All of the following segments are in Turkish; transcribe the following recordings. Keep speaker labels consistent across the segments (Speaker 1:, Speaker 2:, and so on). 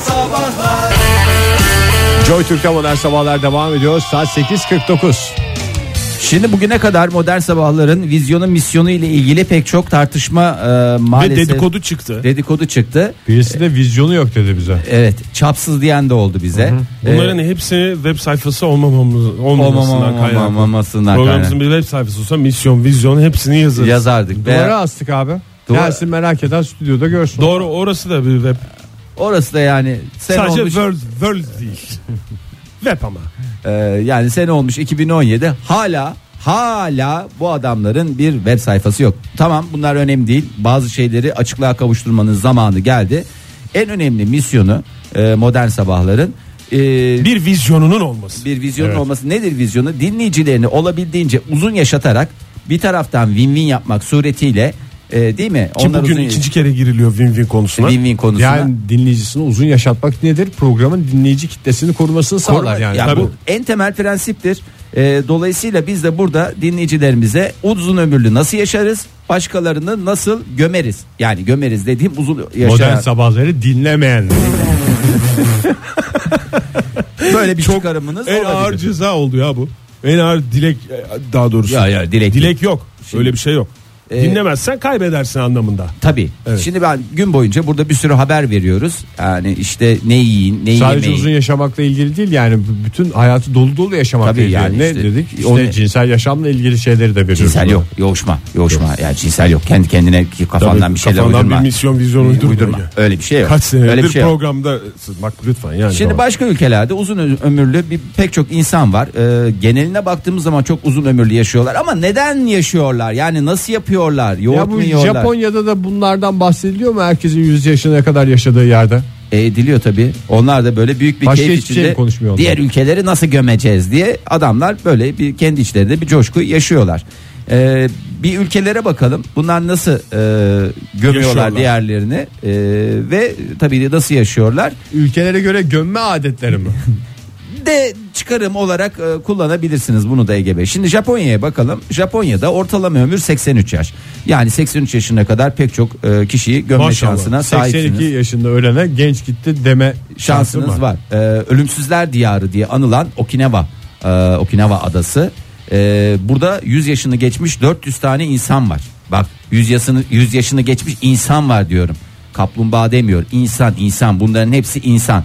Speaker 1: Sabahlar
Speaker 2: Joy Türk'te modern sabahlar devam ediyor. Saat 8.49.
Speaker 3: Şimdi bugüne kadar modern sabahların vizyonu misyonu ile ilgili pek çok tartışma e,
Speaker 4: Ve
Speaker 3: maalesef
Speaker 4: dedikodu çıktı.
Speaker 3: dedikodu çıktı.
Speaker 2: Birisi de vizyonu yok dedi bize.
Speaker 3: Evet, çapsız diyen de oldu bize.
Speaker 4: Bunların hepsi web sayfası olmamamız,
Speaker 3: E,
Speaker 4: olmamasından
Speaker 3: olmamam-
Speaker 4: kaynaklı.
Speaker 3: olmamasından
Speaker 4: Programımızın
Speaker 3: kaynaklı.
Speaker 4: bir web sayfası olsa misyon, vizyon hepsini yazarız.
Speaker 3: yazardık. Ve
Speaker 2: Duvara astık abi.
Speaker 3: Duvara-
Speaker 2: Gelsin merak eden stüdyoda görsün.
Speaker 4: Doğru orası da bir web.
Speaker 3: orası da yani sen
Speaker 4: Sadece
Speaker 3: olmuş
Speaker 4: world, world değil. web ama.
Speaker 3: e, yani sene olmuş 2017 hala hala bu adamların bir web sayfası yok. Tamam bunlar önemli değil. Bazı şeyleri açıklığa kavuşturmanın zamanı geldi. En önemli misyonu e, modern sabahların e,
Speaker 4: Bir vizyonunun olması.
Speaker 3: bir vizyonun olması nedir vizyonu? Dinleyicilerini olabildiğince uzun yaşatarak bir taraftan win-win yapmak suretiyle e, değil mi?
Speaker 4: Ki bugün ikinci kere giriliyor win-win konusuna.
Speaker 3: win-win konusuna.
Speaker 2: Yani dinleyicisini uzun yaşatmak nedir? Programın dinleyici kitlesini korumasını sağlar yani.
Speaker 3: Ya
Speaker 4: Tabii.
Speaker 3: bu en temel prensiptir. E, dolayısıyla biz de burada dinleyicilerimize uzun ömürlü nasıl yaşarız? Başkalarını nasıl gömeriz? Yani gömeriz dediğim uzun
Speaker 2: Modern
Speaker 3: yaşayan
Speaker 2: sabahları dinlemeyen.
Speaker 3: böyle bir çıkarımınız
Speaker 4: En
Speaker 3: olabilir.
Speaker 4: ağır ceza oldu ya bu. En ağır dilek e, daha doğrusu.
Speaker 3: Ya ya dilek.
Speaker 4: Dilek yok.
Speaker 3: Şimdi-
Speaker 4: Öyle bir şey yok.
Speaker 3: Ee,
Speaker 4: Dinlemezsen kaybedersin anlamında.
Speaker 3: Tabii. Şimdi ben gün boyunca burada bir sürü haber veriyoruz. Yani işte ne yiyin, ne
Speaker 2: Sadece
Speaker 3: yemeyin.
Speaker 2: uzun yaşamakla ilgili değil yani b- bütün hayatı dolu dolu yaşamakla
Speaker 3: Tabii
Speaker 2: ilgili.
Speaker 3: yani
Speaker 2: ne
Speaker 3: işte-
Speaker 2: dedik? İşte
Speaker 3: Onu-
Speaker 2: cinsel yaşamla ilgili şeyleri de veriyoruz.
Speaker 3: Cinsel yok. Yoğuşma. Yoğuşma. Yani cinsel yok. Kendi kendine kafandan
Speaker 4: Tabii,
Speaker 3: bir şeyler
Speaker 4: kafandan
Speaker 3: uydurma.
Speaker 4: bir misyon, vizyon uydurma.
Speaker 3: Öyle bir şey yok.
Speaker 4: Kaç senedir
Speaker 3: Öyle bir şey yok.
Speaker 4: programdasın. Bak lütfen yani.
Speaker 3: Şimdi başka ülkelerde uzun ö- ömürlü bir pek çok insan var. Ee, geneline baktığımız zaman çok uzun ömürlü yaşıyorlar ama neden yaşıyorlar? Yani nasıl yapıyorlar? Yoğurt
Speaker 2: Ya bu
Speaker 3: mu yiyorlar?
Speaker 2: Japonya'da da bunlardan bahsediliyor mu herkesin 100 yaşına kadar yaşadığı yerde?
Speaker 3: E, ediliyor tabii. Onlar da böyle büyük bir
Speaker 2: Başka
Speaker 3: keyif
Speaker 2: hiçbir şey mi
Speaker 3: içinde
Speaker 2: konuşmuyor onlar?
Speaker 3: diğer ülkeleri nasıl gömeceğiz diye adamlar böyle bir kendi içlerinde bir coşku yaşıyorlar. E, bir ülkelere bakalım bunlar nasıl e, gömüyorlar
Speaker 4: Yaşıyorlar.
Speaker 3: diğerlerini e, ve tabii de nasıl yaşıyorlar
Speaker 2: Ülkelere göre gömme adetleri mi?
Speaker 3: de çıkarım olarak e, kullanabilirsiniz bunu da Ege Bey. Şimdi Japonya'ya bakalım. Japonya'da ortalama ömür 83 yaş. Yani 83 yaşına kadar pek çok e, kişiyi gömme
Speaker 4: Maşallah.
Speaker 3: şansına
Speaker 2: 82
Speaker 3: sahipsiniz.
Speaker 2: yaşında ölene genç gitti deme şansım
Speaker 3: Şansınız var. E, ölümsüzler diyarı diye anılan Okinawa, e, Okinawa adası. E, burada 100 yaşını geçmiş 400 tane insan var. Bak 100 yaşını 100 yaşını geçmiş insan var diyorum. Kaplumbağa demiyor. İnsan, insan. Bunların hepsi insan.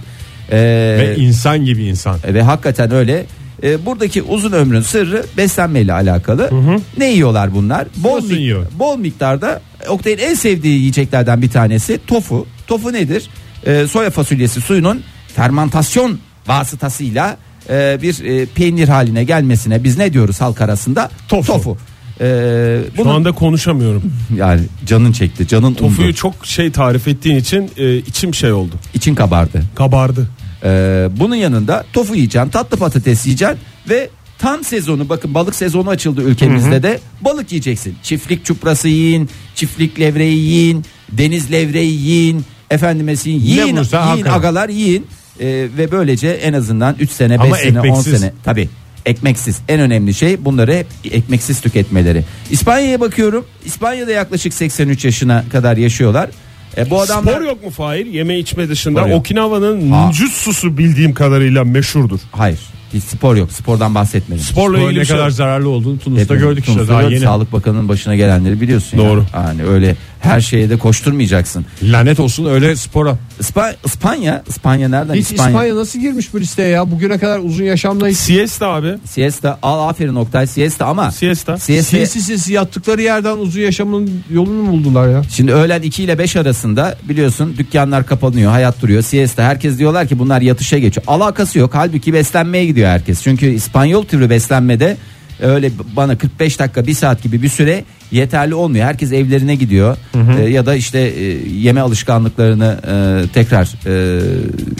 Speaker 3: E,
Speaker 2: Ve insan gibi insan.
Speaker 3: E, ve hakikaten öyle. E, buradaki uzun ömrün sırrı beslenmeyle alakalı. Ne yiyorlar bunlar? Bol,
Speaker 2: Yosun
Speaker 3: mik-
Speaker 2: yiyor.
Speaker 3: bol miktarda e, Oktay'ın en sevdiği yiyeceklerden bir tanesi tofu. Tofu nedir? E, soya fasulyesi suyunun fermantasyon vasıtasıyla e, bir e, peynir haline gelmesine biz ne diyoruz halk arasında?
Speaker 4: Tofu.
Speaker 3: E,
Speaker 4: Şu
Speaker 3: bunun-
Speaker 4: anda konuşamıyorum.
Speaker 3: yani canın çekti, canın
Speaker 4: Tofuyu
Speaker 3: umdu,
Speaker 4: çok şey tarif ettiğin için e, içim şey oldu.
Speaker 3: için kabardı.
Speaker 4: Kabardı.
Speaker 3: Ee, bunun yanında tofu yiyeceksin, tatlı patates yiyeceksin ve tam sezonu bakın balık sezonu açıldı ülkemizde de balık yiyeceksin. Çiftlik çuprası yiyin, çiftlik levreyi yiyin, deniz levreyi yiyin, efendime yiyin, yiyin,
Speaker 2: vursa
Speaker 3: yiyin
Speaker 2: hakikaten.
Speaker 3: agalar yiyin Ee, ve böylece en azından 3 sene, 5
Speaker 2: Ama
Speaker 3: sene, 10
Speaker 2: ekmeksiz.
Speaker 3: sene tabi ekmeksiz en önemli şey bunları hep ekmeksiz tüketmeleri. İspanya'ya bakıyorum. İspanya'da yaklaşık 83 yaşına kadar yaşıyorlar. E, bu adamlar
Speaker 4: Spor yok mu Fahir? Yeme içme dışında.
Speaker 3: Spor yok.
Speaker 4: Okinawa'nın
Speaker 3: Aa.
Speaker 4: ninjutsusu bildiğim kadarıyla meşhurdur.
Speaker 3: hayır. Hiç spor yok. Spordan bahsetmedim.
Speaker 4: Sporla
Speaker 2: Böyle
Speaker 4: ilgili
Speaker 2: ne
Speaker 4: bir şey
Speaker 2: kadar
Speaker 4: yok.
Speaker 2: zararlı olduğunu Tunus'ta
Speaker 3: Hepimiz
Speaker 2: gördük işte
Speaker 3: Tunus'ta
Speaker 2: daha
Speaker 3: gördük.
Speaker 2: yeni.
Speaker 3: Sağlık Bakanı'nın başına gelenleri biliyorsun.
Speaker 4: Doğru.
Speaker 3: Ya. Yani öyle her şeye de koşturmayacaksın.
Speaker 2: Lanet olsun öyle spora.
Speaker 3: İspa- İspanya, İspanya nereden?
Speaker 2: Hiç Hani İspanya. nasıl girmiş bu listeye ya? Bugüne kadar uzun yaşamla hiç
Speaker 4: Siesta abi.
Speaker 3: Siesta, al aferin Oktay siesta ama
Speaker 4: Siesta.
Speaker 3: siesta,
Speaker 2: sesi sesi yattıkları yerden uzun yaşamın yolunu buldular ya.
Speaker 3: Şimdi öğlen 2 ile 5 arasında biliyorsun dükkanlar kapanıyor, hayat duruyor, siesta. Herkes diyorlar ki bunlar yatışa geçiyor. Alakası yok. Halbuki beslenmeye gidiyor herkes. Çünkü İspanyol türü beslenmede öyle bana 45 dakika 1 saat gibi bir süre yeterli olmuyor. Herkes evlerine gidiyor E, ya da işte e, yeme alışkanlıklarını e, tekrar e,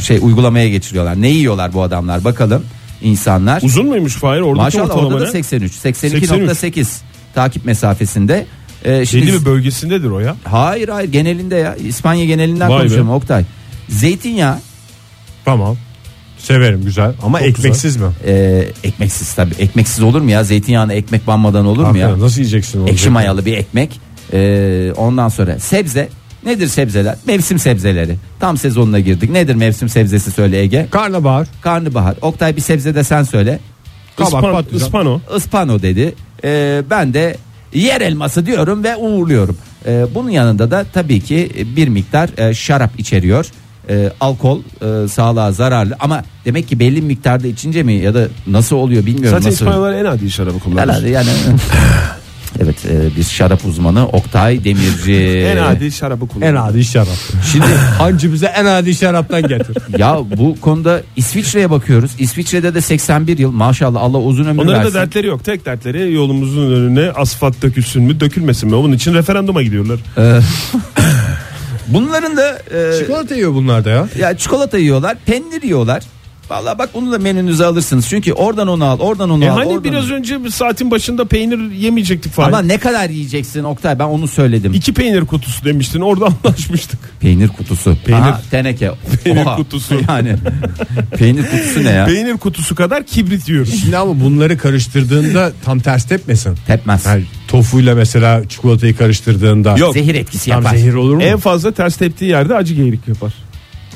Speaker 3: şey uygulamaya geçiriyorlar. Ne yiyorlar bu adamlar bakalım insanlar.
Speaker 4: Uzun muymuş Fahir? Oradaki
Speaker 3: Maşallah
Speaker 4: ortalama
Speaker 3: orada da
Speaker 4: ne?
Speaker 3: 83, 82.8 takip mesafesinde. E, şimdi
Speaker 4: Belli bir bölgesindedir o ya.
Speaker 3: Hayır hayır genelinde ya İspanya genelinden
Speaker 4: Vay be.
Speaker 3: konuşuyorum Oktay. Zeytinyağı
Speaker 2: Tamam. Severim güzel ama
Speaker 4: Çok
Speaker 2: ekmeksiz mi?
Speaker 3: e, ekmeksiz tabii ekmeksiz olur mu ya zeytinyağına ekmek banmadan olur mu ya?
Speaker 2: Hakikaten Nasıl yiyeceksin onu?
Speaker 3: Ekşi mayalı bir ekmek E, ondan sonra sebze Nedir sebzeler? Mevsim sebzeleri. Tam sezonuna girdik. Nedir mevsim sebzesi söyle Ege?
Speaker 2: Karnabahar,
Speaker 3: Karnabahar. Oktay bir sebze de sen söyle.
Speaker 2: kabak,
Speaker 4: Ispan,
Speaker 2: patlıcan.
Speaker 4: ıspano.
Speaker 3: Ispano dedi. Ee, ben de yer elması diyorum ve uğurluyorum. Ee, bunun yanında da tabii ki bir miktar e, şarap içeriyor. Ee, alkol e, sağlığa zararlı ama demek ki belli miktarda içince mi ya da nasıl oluyor bilmiyorum
Speaker 4: Zaten
Speaker 3: nasıl.
Speaker 4: İspanyollar en adi şarabı kullanır.
Speaker 3: Herhalde yani. evet e, bir şarap uzmanı Oktay Demirci.
Speaker 4: En adi şarabı
Speaker 2: En
Speaker 4: kullanır.
Speaker 2: adi şarap.
Speaker 3: Şimdi
Speaker 2: Hancı bize en adi şaraptan getir.
Speaker 3: ya bu konuda İsviçre'ye bakıyoruz. İsviçre'de de 81 yıl maşallah Allah uzun ömür
Speaker 4: Onların da
Speaker 3: versin.
Speaker 4: dertleri yok. Tek dertleri yolumuzun önüne asfalt dökülsün mü dökülmesin mi? Onun için referanduma gidiyorlar.
Speaker 3: Bunların da e,
Speaker 2: Çikolata yiyor bunlar da ya.
Speaker 3: ya çikolata yiyorlar, peynir yiyorlar. Vallahi bak bunu da menünüze alırsınız. Çünkü oradan onu al, oradan onu
Speaker 4: E
Speaker 3: al.
Speaker 4: hani
Speaker 3: oradan
Speaker 4: biraz
Speaker 3: onu-
Speaker 4: önce bir saatin başında peynir yemeyecektik falan.
Speaker 3: Ama ne kadar yiyeceksin Oktay? Ben onu söyledim.
Speaker 4: İki peynir kutusu demiştin orada anlaşmıştık.
Speaker 3: Peynir kutusu.
Speaker 4: Peynir-
Speaker 3: Aha, teneke.
Speaker 4: Peynir kutusu.
Speaker 3: Yani peynir kutusu ne ya?
Speaker 4: Peynir kutusu kadar kibrit yiyoruz.
Speaker 2: Şimdi ama bunları karıştırdığında tam ters tepmesin.
Speaker 3: Tepmez.
Speaker 2: Yani tofuyla mesela çikolatayı karıştırdığında
Speaker 4: Yok.
Speaker 3: Zehir etkisi
Speaker 2: tam
Speaker 3: yapar.
Speaker 2: zehir olur mu?
Speaker 4: En fazla ters teptiği yerde acı geyrik yapar.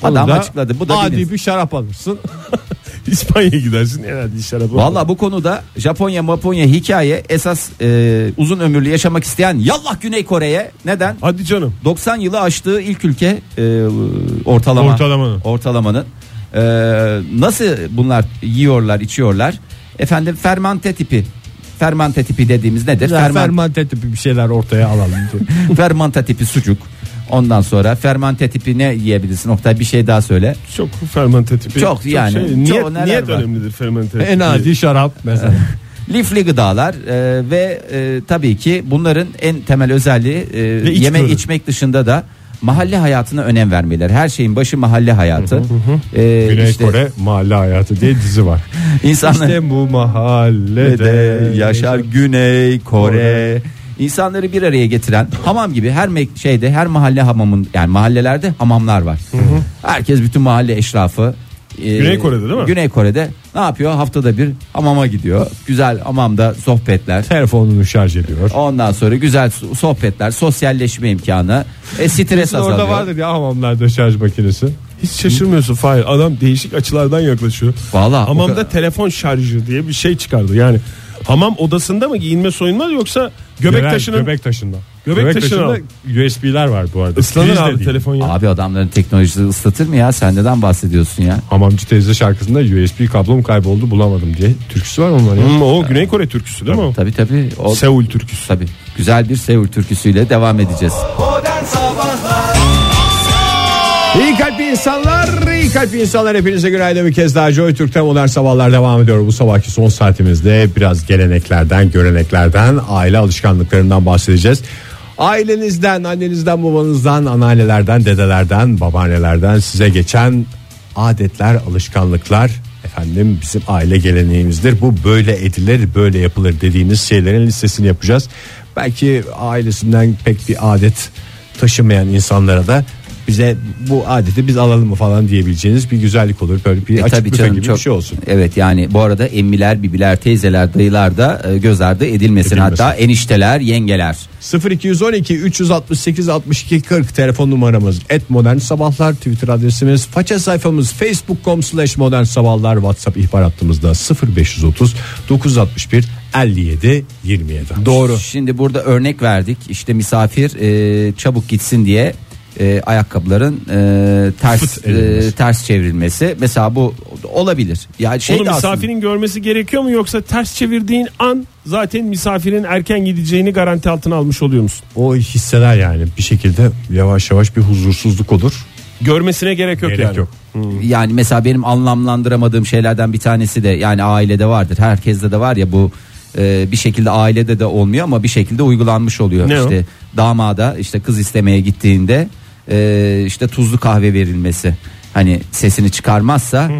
Speaker 3: Adam
Speaker 2: Onda
Speaker 3: açıkladı. Bu da
Speaker 2: adi
Speaker 3: bilin.
Speaker 2: bir şarap alırsın.
Speaker 4: İspanya'ya gidersin en adi şarabı.
Speaker 3: Valla bu konuda Japonya Maponya hikaye esas e, uzun ömürlü yaşamak isteyen yallah Güney Kore'ye neden?
Speaker 4: Hadi canım.
Speaker 3: 90 yılı aştığı ilk ülke e, ortalama
Speaker 4: Ortalamanın.
Speaker 3: ortalamanın E, nasıl bunlar yiyorlar içiyorlar efendim fermante tipi fermante tipi dediğimiz nedir
Speaker 2: Ferman...
Speaker 3: Ferman-
Speaker 2: Fermante tipi bir şeyler ortaya alalım. diye.
Speaker 3: fermante tipi sucuk ondan sonra fermante tipi ne yiyebilirsin Oktay bir şey daha söyle
Speaker 4: Çok fermente tipi. şey,
Speaker 3: Çok yani. Çok
Speaker 4: niyet
Speaker 3: neler
Speaker 4: niyet
Speaker 3: var.
Speaker 4: önemlidir fermente tipi.
Speaker 2: en adi şarap mesela.
Speaker 3: lifli gıdalar e, ve e, tabii ki bunların en temel özelliği e,
Speaker 4: Ve iç
Speaker 3: yeme
Speaker 4: görün.
Speaker 3: içmek dışında da mahalle hayatına önem vermeleri. Her şeyin başı mahalle hayatı. E,
Speaker 2: Güney
Speaker 3: işte
Speaker 2: Kore Mahalle Hayatı diye dizi var.
Speaker 3: insanlar-
Speaker 2: işte bu mahallede
Speaker 3: de yaşar Güney Kore. İnsanları bir araya getiren hamam gibi her me- şeyde her mahalle hamamın yani mahallelerde hamamlar var. Herkes bütün mahalle eşrafı e,
Speaker 4: Güney Kore'de değil mi?
Speaker 3: Güney Kore'de ne yapıyor? Haftada bir hamama gidiyor. Güzel hamamda sohbetler.
Speaker 2: Telefonunu şarj ediyor.
Speaker 3: Ondan sonra güzel so- sohbetler, sosyalleşme imkanı, e, stres azalıyor.
Speaker 2: Orada vardır ya hamamlarda şarj makinesi.
Speaker 4: Hiç şaşırmıyorsun Fahir. Adam değişik açılardan yaklaşıyor.
Speaker 3: Vallahi o
Speaker 4: Hamamda
Speaker 3: kadar-
Speaker 4: telefon şarjı diye bir şey çıkardı. Yani hamam odasında mı giyinme soyunma yoksa göbek
Speaker 2: Göbek
Speaker 4: taşının
Speaker 2: göbek taşında.
Speaker 4: Göbek taşını al.
Speaker 2: USB'ler var bu arada.
Speaker 4: ıslanır
Speaker 2: Priz de
Speaker 4: abi
Speaker 2: değil.
Speaker 4: telefon ya.
Speaker 3: Abi adamların teknolojisi ıslatır mı ya? Sen neden bahsediyorsun ya?
Speaker 2: Hamamcı teyze şarkısında USB kablom kayboldu bulamadım diye türküsü var onların. ya.
Speaker 4: Hmm, o Güney Kore türküsü değil mi o?
Speaker 3: Tabii tabii. O,
Speaker 4: Seul türküsü.
Speaker 3: tabii. Güzel bir Seul türküsüyle devam edeceğiz.
Speaker 2: İyi kalpli insanlar, iyi kalpli insanlar hepinize günaydın bir kez daha Joy Türk'te modern sabahlar devam ediyor. Bu sabahki son saatimizde biraz geleneklerden, göreneklerden, aile alışkanlıklarından bahsedeceğiz. Ailenizden, annenizden, babanızdan, anneannelerden, dedelerden, babaannelerden size geçen adetler, alışkanlıklar efendim bizim aile geleneğimizdir. Bu böyle edilir, böyle yapılır dediğiniz şeylerin listesini yapacağız. Belki ailesinden pek bir adet taşımayan insanlara da bize bu adeti biz alalım mı falan diyebileceğiniz bir güzellik olur. Böyle bir
Speaker 3: E
Speaker 2: açık
Speaker 3: tabii
Speaker 2: büfe
Speaker 3: canım
Speaker 2: gibi
Speaker 3: çok-
Speaker 2: bir şey olsun.
Speaker 3: Evet yani bu arada emmiler, bibiler, teyzeler, dayılar da e, göz ardı edilmesin. Hatta enişteler, yengeler.
Speaker 2: 0212 368 62 40 telefon numaramız et modern sabahlar twitter adresimiz faça sayfamız facebook.com slash modern sabahlar whatsapp ihbar hattımızda 0530 961 57 27
Speaker 3: Doğru. Şimdi burada örnek verdik. İşte misafir e, çabuk gitsin diye e, ayakkabıların e, ters
Speaker 2: Fıt edilmesi.
Speaker 3: e, ters çevrilmesi. Mesela bu olabilir. Ya şey
Speaker 4: Onu
Speaker 3: de aslında-
Speaker 4: misafirin görmesi gerekiyor mu yoksa ters çevirdiğin an zaten misafirin erken gideceğini garanti altına almış oluyor musun?
Speaker 2: o hisseler yani bir şekilde yavaş yavaş bir huzursuzluk olur
Speaker 4: Görmesine gerek yok
Speaker 2: gerek
Speaker 4: yani.
Speaker 2: yok
Speaker 3: yani mesela benim anlamlandıramadığım şeylerden bir tanesi de yani ailede vardır. Herkeste de var ya bu e, bir şekilde ailede de olmuyor ama bir şekilde uygulanmış oluyor.
Speaker 4: Ne o?
Speaker 3: işte damada işte kız istemeye gittiğinde e, işte tuzlu kahve verilmesi. Hani sesini çıkarmazsa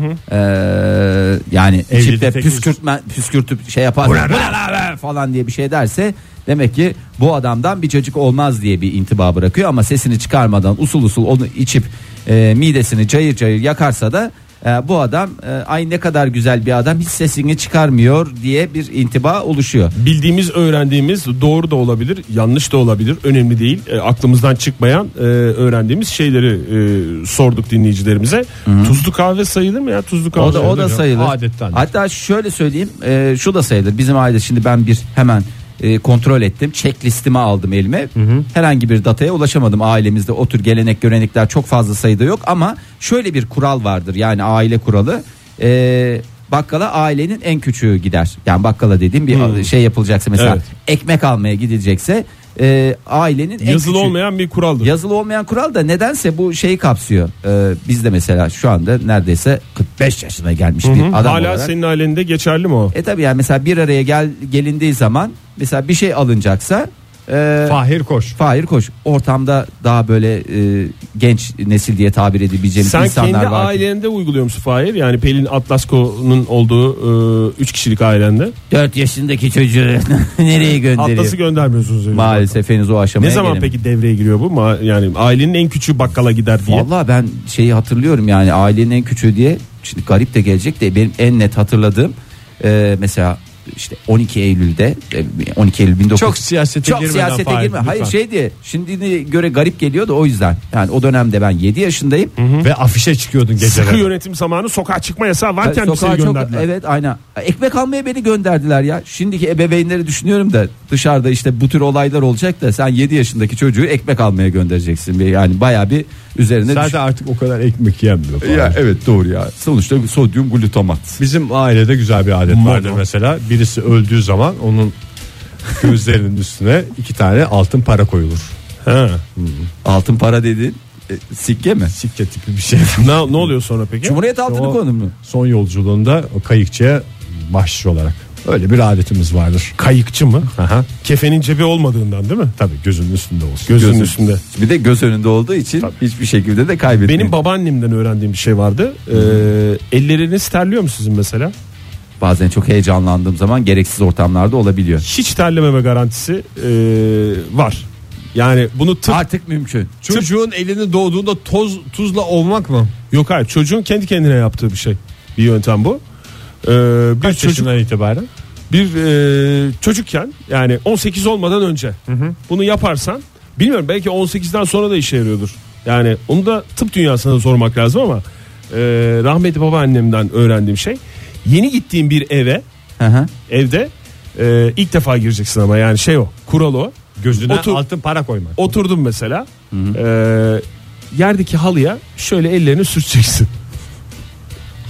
Speaker 3: e, yani
Speaker 2: Evliliği
Speaker 3: çifte
Speaker 2: tekrar-
Speaker 3: püskürtme püskürtüp şey yapar "Bu ne la be?" falan diye bir şey derse demek ki bu adamdan bir çocuk olmaz diye bir intiba bırakıyor ama sesini çıkarmadan usul usul onu içip e, midesini cayır cayır yakarsa da E, bu adam e, ay ne kadar güzel bir adam hiç sesini çıkarmıyor diye bir intiba oluşuyor.
Speaker 4: Bildiğimiz, öğrendiğimiz doğru da olabilir, yanlış da olabilir. Önemli değil. E, aklımızdan çıkmayan e, öğrendiğimiz şeyleri e, sorduk dinleyicilerimize. Tuzlu kahve sayılır mı ya? Tuzlu kahve.
Speaker 3: O da o da
Speaker 4: Hocam,
Speaker 3: sayılır.
Speaker 2: Adetten.
Speaker 3: Hatta şöyle söyleyeyim, e, şu da sayılır. Bizim aile şimdi ben bir hemen e, kontrol ettim. Checklistimi aldım elime. Herhangi bir dataya ulaşamadım. Ailemizde o tür gelenek görenekler çok fazla sayıda yok ama şöyle bir kural vardır. Yani aile kuralı. E, bakkala ailenin en küçüğü gider. Yani bakkala dediğim bir şey yapılacaksa mesela
Speaker 4: Evet.
Speaker 3: ekmek almaya gidilecekse e, ailenin en
Speaker 4: Yazılı
Speaker 3: küçüğü-
Speaker 4: olmayan bir kuraldır.
Speaker 3: Yazılı olmayan kural da nedense bu şeyi kapsıyor. Ee, bizde mesela şu anda neredeyse 45 yaşına gelmiş bir
Speaker 4: Hı,
Speaker 3: adam
Speaker 4: Hala
Speaker 3: olarak.
Speaker 4: senin ailende geçerli mi o?
Speaker 3: E tabi yani mesela bir araya gel gelindiği zaman mesela bir şey alınacaksa e,
Speaker 2: Fahir Koş.
Speaker 3: Fahir koş ortamda daha böyle e, genç nesil diye tabir edebileceğimiz
Speaker 4: Sen
Speaker 3: insanlar
Speaker 4: kendi
Speaker 3: var.
Speaker 4: ailende uyguluyor musun Fahir? Yani Pelin Atlasko'nun olduğu 3 kişilik ailende.
Speaker 3: 4 yaşındaki çocuğu nereye
Speaker 4: Atlas'ı
Speaker 3: gönderiyor?
Speaker 4: göndermiyorsunuz. öyle.
Speaker 3: Maalesef henüz o aşamaya
Speaker 4: Ne zaman
Speaker 3: gelemedik.
Speaker 4: peki devreye giriyor bu? Ma- Yani ailenin en küçüğü bakkala gider diye.
Speaker 3: Valla ben şeyi hatırlıyorum yani ailenin en küçüğü diye şimdi garip de gelecek de benim en net hatırladığım e, mesela işte 12 Eylül'de e, 12 Eylül 19
Speaker 2: Çok siyasete
Speaker 3: çok
Speaker 2: girmeden
Speaker 3: siyasete
Speaker 2: Fahir,
Speaker 3: girme. Hayır
Speaker 2: lütfen.
Speaker 3: şey diye şimdi göre garip geliyor da o yüzden yani o dönemde ben 7 yaşındayım.
Speaker 2: Ve afişe çıkıyordun
Speaker 4: Sıkı
Speaker 2: geceleri.
Speaker 4: yönetim zamanı sokağa çıkma yasağı varken
Speaker 3: Sokağa
Speaker 4: bir seni
Speaker 3: çok-
Speaker 4: gönderdiler.
Speaker 3: evet aynen. Ekmek almaya beni gönderdiler ya. Şimdiki ebeveynleri düşünüyorum da dışarıda işte bu tür olaylar olacak da sen 7 yaşındaki çocuğu ekmek almaya göndereceksin. Yani bayağı bir üzerine
Speaker 2: Zaten
Speaker 3: düş-
Speaker 2: artık o kadar ekmek yenmiyor. Fahir.
Speaker 3: Ya evet doğru ya. Sonuçta sodyum glutamat.
Speaker 2: Bizim ailede güzel bir adet vardır mesela. Birisi öldüğü zaman onun gözlerinin üstüne iki tane altın para koyulur.
Speaker 4: Ha.
Speaker 3: Altın para dediğin e, sikke mi?
Speaker 2: Sikke tipi bir şey.
Speaker 4: Ne, ne oluyor sonra peki?
Speaker 3: Cumhuriyet altını
Speaker 2: O-
Speaker 3: konu mu?
Speaker 2: Son yolculuğunda o kayıkçıya bahşiş olarak. Öyle bir adetimiz vardır.
Speaker 4: Kayıkçı mı?
Speaker 2: Aha.
Speaker 4: Kefenin cebi olmadığından değil mi?
Speaker 2: Tabii gözünün üstünde olsun.
Speaker 4: Gözünün üstünde.
Speaker 3: Bir de göz önünde olduğu için hiçbir şekilde de kaybetmiyor.
Speaker 4: Benim babaannemden öğrendiğim bir şey vardı. Ee, elleriniz terliyor mu sizin mesela?
Speaker 3: bazen çok heyecanlandığım zaman gereksiz ortamlarda olabiliyor.
Speaker 4: Hiç terlememe garantisi ee, var. Yani bunu tıp
Speaker 3: Artık mümkün.
Speaker 2: Çocuğun elini doğduğunda toz tuzla olmak mı?
Speaker 4: yok hayır çocuğun kendi kendine yaptığı bir şey. Bir yöntem bu. Ee, bir
Speaker 2: Kaç
Speaker 4: çocuk
Speaker 2: yaşından itibaren?
Speaker 4: bir e, çocukken yani 18 olmadan önce bunu yaparsan bilmiyorum belki 18'den sonra da işe yarıyordur. Yani onu da tıp dünyasına da sormak lazım ama e, rahmetli babaannemden öğrendiğim şey yeni gittiğim bir eve
Speaker 3: Hı hı.
Speaker 4: evde e, ilk defa gireceksin ama yani şey o kural o.
Speaker 2: Gözüne
Speaker 4: Otur-
Speaker 2: altın para koymak.
Speaker 4: Oturdum mesela e, yerdeki halıya şöyle ellerini sürteceksin.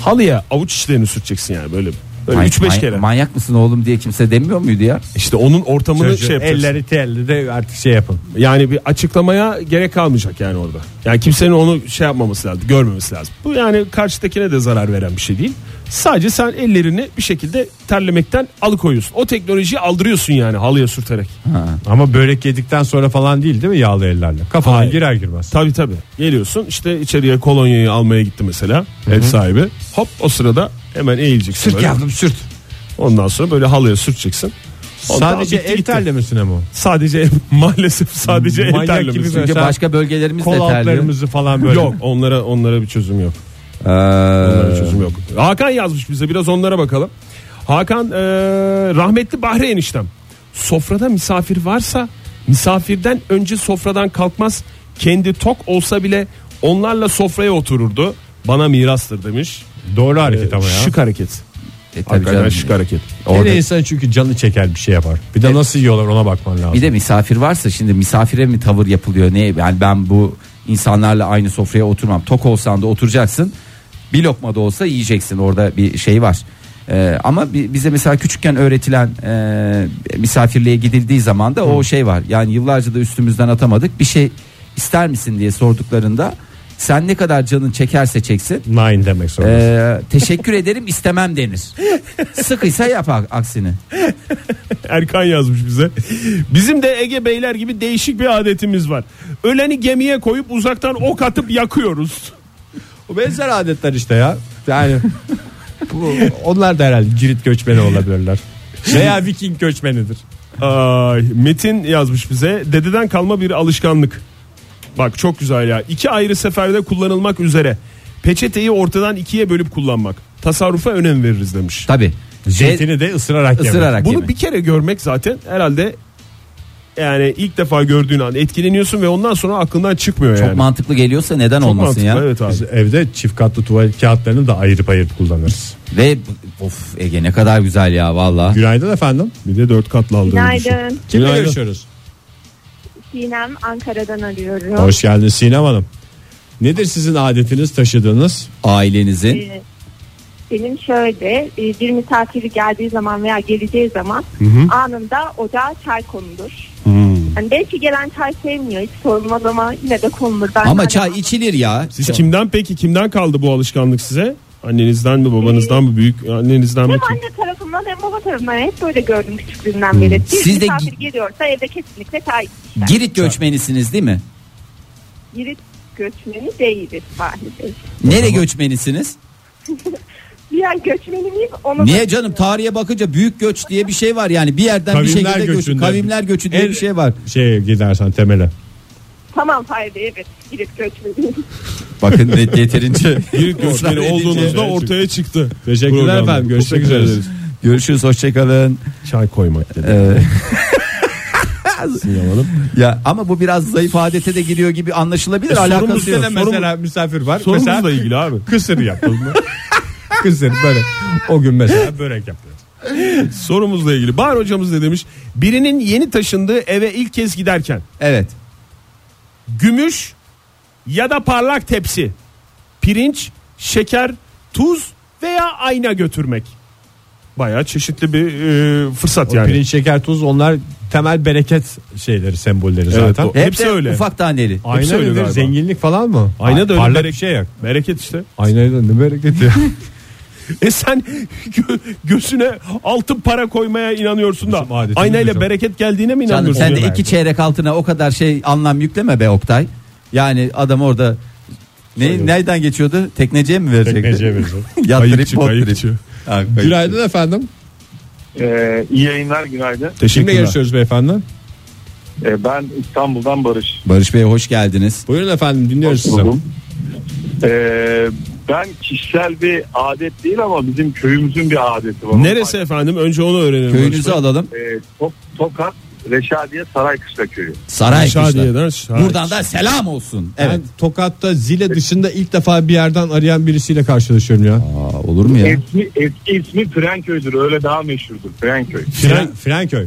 Speaker 4: Halıya avuç içlerini sürteceksin yani böyle böyle
Speaker 3: Man-
Speaker 4: 3-5
Speaker 3: man-
Speaker 4: kere.
Speaker 3: Manyak mısın oğlum diye kimse demiyor muydu ya?
Speaker 4: İşte onun ortamını
Speaker 2: Çocuğun
Speaker 4: şey yapacaksın.
Speaker 2: elleri telli de artık şey yapın.
Speaker 4: Yani bir açıklamaya gerek kalmayacak yani orada. Yani kimsenin onu şey yapmaması lazım, görmemesi lazım. Bu yani karşıdakine de zarar veren bir şey değil. Sadece sen ellerini bir şekilde terlemekten alıkoyuyorsun. O teknolojiyi aldırıyorsun yani halıya sürterek.
Speaker 2: Ama börek yedikten sonra falan değil değil mi yağlı ellerle? Kafadan
Speaker 4: Hayır.
Speaker 2: girer girmez.
Speaker 4: Tabii tabii. Geliyorsun işte içeriye kolonyayı almaya gitti mesela ev sahibi. Hop o sırada hemen eğileceksin. böyle.
Speaker 2: sürt.
Speaker 4: Ondan sonra böyle halıya sürteceksin. Ondan
Speaker 2: Sadece
Speaker 4: bitti
Speaker 2: el
Speaker 4: gitti.
Speaker 2: terlemesine mi? o?
Speaker 4: Sadece maalesef sadece el
Speaker 2: Manyak gibi
Speaker 4: terlemesi.
Speaker 2: böyle.
Speaker 3: Çünkü
Speaker 2: Mesela
Speaker 3: başka bölgelerimiz de
Speaker 2: Kol
Speaker 3: terliyor.
Speaker 2: altlarımızı falan böyle.
Speaker 4: Yok onlara onlara bir çözüm yok. Onlara
Speaker 3: Ee,
Speaker 4: çözüm yok. Hakan yazmış bize biraz onlara bakalım. Hakan eee, rahmetli Bahri eniştem. Sofrada misafir varsa misafirden önce sofradan kalkmaz. Kendi tok olsa bile onlarla sofraya otururdu. Bana mirastır demiş.
Speaker 2: Doğru hareket ama ya.
Speaker 4: Ee, Şık hareket.
Speaker 3: e, tabii
Speaker 4: Hakikaten
Speaker 3: canım.
Speaker 4: şık hareket.
Speaker 3: Orada-
Speaker 2: Hele insan çünkü canı çeker bir şey yapar. Bir de nasıl yiyorlar ona bakman lazım.
Speaker 3: Bir de misafir varsa şimdi misafire mi tavır yapılıyor ne yani ben bu insanlarla aynı sofraya oturmam. Tok olsan da oturacaksın. Bir lokma da olsa yiyeceksin orada bir şey var. Ee, ama bi- bize mesela küçükken öğretilen e, misafirliğe gidildiği zaman da o şey var. Yani yıllarca da üstümüzden atamadık. Bir şey ister misin diye sorduklarında sen ne kadar canın çekerse çeksin
Speaker 2: Nine demek zorunda.
Speaker 3: e, teşekkür ederim istemem denir. Sıkıysa yap a- aksini.
Speaker 4: Erkan yazmış bize. Bizim de Ege beyler gibi değişik bir adetimiz var. Öleni gemiye koyup uzaktan ok atıp yakıyoruz.
Speaker 2: O benzer adetler işte ya. Yani bu, onlar da herhalde cirit göçmeni olabilirler. Veya Viking göçmenidir.
Speaker 4: Ay, Metin yazmış bize dededen kalma bir alışkanlık. Bak çok güzel ya. İki ayrı seferde kullanılmak üzere Peçeteyi ortadan ikiye bölüp kullanmak. Tasarrufa önem veririz demiş.
Speaker 3: Tabi.
Speaker 2: Zeytini de ısırarak yemek.
Speaker 3: Isırarak
Speaker 4: Bunu
Speaker 3: yemek.
Speaker 4: bir kere görmek zaten herhalde yani ilk defa gördüğün an etkileniyorsun ve ondan sonra aklından çıkmıyor
Speaker 3: Çok
Speaker 4: yani.
Speaker 3: mantıklı geliyorsa neden
Speaker 4: Çok
Speaker 3: olmasın
Speaker 4: mantıklı,
Speaker 3: ya?
Speaker 4: Evet abi.
Speaker 2: Biz evde çift katlı tuvalet kağıtlarını da ayırıp ayırıp kullanırız.
Speaker 3: Ve of Ege ne kadar güzel ya valla.
Speaker 2: Günaydın efendim.
Speaker 4: Bir de dört katlı aldığını
Speaker 1: Günaydın.
Speaker 4: düşün.
Speaker 2: Kimle
Speaker 4: Günaydın.
Speaker 2: görüşüyoruz?
Speaker 1: Sinem Ankara'dan arıyorum.
Speaker 2: Hoş geldiniz Sinem Hanım. Nedir sizin adetiniz taşıdığınız?
Speaker 3: Ailenizin.
Speaker 1: Ee, Benim şöyle e, bir misafiri geldiği zaman veya geleceği zaman anında ocağa çay konulur. Yani belki gelen çay sevmiyor hiç sorulmaz ama yine de konulur. Ben hani
Speaker 3: Ama
Speaker 1: hala-
Speaker 3: çay içilir ya.
Speaker 4: Siz kimden peki kimden kaldı bu alışkanlık size? Annenizden mi babanızdan mı büyük annenizden mi?
Speaker 1: Hem
Speaker 4: Kim?
Speaker 1: anne tarafından hem baba tarafından hep böyle gördüm küçüklüğümden beri. Bir
Speaker 3: Siz de
Speaker 1: misafir
Speaker 3: gi-
Speaker 1: geliyorsa evde kesinlikle çay içer.
Speaker 3: Girit göçmenisiniz değil mi?
Speaker 1: Girit göçmeni değiliz maalesef.
Speaker 3: Nere göçmenisiniz?
Speaker 1: Bir an göçmeni miyim? Ona
Speaker 3: Niye canım tarihe bakınca büyük göç diye bir şey var yani bir yerden bir
Speaker 2: Kavimler
Speaker 3: şekilde göç,
Speaker 2: göçünden.
Speaker 3: kavimler göçü diye
Speaker 2: En-
Speaker 3: bir şey var.
Speaker 2: Şey gidersen temele.
Speaker 1: Tamam fayda evet Girit göçmeni.
Speaker 3: Bakın net yeterince
Speaker 4: Büyük göçmeni
Speaker 3: Ortaya
Speaker 4: olduğunuzda
Speaker 3: edince-
Speaker 4: ortaya çıktı.
Speaker 2: Teşekkürler
Speaker 4: Programda.
Speaker 2: efendim. Görüşmek
Speaker 4: Teşekkür
Speaker 2: üzere.
Speaker 4: ederiz.
Speaker 3: Görüşürüz hoşçakalın.
Speaker 2: Çay koymak dedi. Sinem Hanım.
Speaker 3: Ya ama bu biraz zayıf adete de giriyor gibi anlaşılabilir.
Speaker 4: E, sorumuz
Speaker 3: Alakası
Speaker 4: da
Speaker 3: yok.
Speaker 4: ne?
Speaker 2: Mesela misafir var. mesela
Speaker 4: Sorumuzla ilgili abi.
Speaker 2: kısır yapıldı. kısır börek. O gün mesela börek yapılır.
Speaker 4: Sorumuzla ilgili. Bahar hocamız ne demiş? Birinin yeni taşındığı eve ilk kez giderken
Speaker 3: Evet.
Speaker 4: gümüş ya da parlak tepsi, pirinç, şeker, tuz veya ayna götürmek. Bayağı çeşitli bir e, fırsat
Speaker 2: O
Speaker 4: yani.
Speaker 2: Pirinç, şeker, tuz onlar temel bereket şeyleri, sembolleri zaten.
Speaker 4: o-
Speaker 2: E,
Speaker 3: Hep
Speaker 4: Hepsi
Speaker 3: de
Speaker 4: öyle.
Speaker 3: ufak taneli.
Speaker 2: Ayna
Speaker 4: öyle
Speaker 2: nedir?
Speaker 4: galiba.
Speaker 2: Zenginlik falan mı?
Speaker 4: Ayna da öyle
Speaker 2: Parlak
Speaker 4: bereket-
Speaker 2: bir şey yok.
Speaker 4: Bereket işte.
Speaker 2: Aynaya da ne bereket ya.
Speaker 4: E sen gö- göğsüne altın para koymaya inanıyorsun da
Speaker 2: Bizim adetimiz
Speaker 4: aynayla
Speaker 2: hocam.
Speaker 4: bereket geldiğine mi
Speaker 3: Canım
Speaker 4: inanıyorsun?
Speaker 3: sen de
Speaker 4: Yani?
Speaker 3: iki çeyrek altına o kadar şey anlam yükleme be Oktay. Yani adam orada ne, nereden geçiyordu? Tekneciye mi verecekti?
Speaker 2: Tekneciye verecek.
Speaker 3: Yattırıp
Speaker 4: Ayıkçı, ayıkçı.
Speaker 3: bottırıp. Ha, kayıkçı.
Speaker 2: Günaydın efendim.
Speaker 5: Ee, iyi yayınlar günaydın.
Speaker 2: Kimle
Speaker 4: Teşekkürler.
Speaker 2: görüşüyoruz beyefendi?
Speaker 5: Ee, ben İstanbul'dan Barış.
Speaker 3: Barış Bey hoş geldiniz.
Speaker 2: Buyurun efendim dinliyoruz sizi.
Speaker 5: Buldum. Ee, ben kişisel bir adet değil ama bizim köyümüzün bir adeti var.
Speaker 4: Neresi efendim? Önce onu öğrenelim.
Speaker 3: Köyünüzü alalım.
Speaker 5: Ee, Tok- Tokat Reşadiye Saraykışla köyü.
Speaker 3: Saraykuş'ta.
Speaker 4: Şadiye'den
Speaker 3: Buradan da selam olsun. Evet.
Speaker 2: Ben Tokat'ta Zile dışında ilk defa bir yerden arayan birisiyle karşılaşıyorum ya.
Speaker 3: Aa, olur mu ya?
Speaker 5: Eski, eski ismi Frenköy'dür öyle daha meşhurdur Frenköy.
Speaker 2: Fren, Frenköy.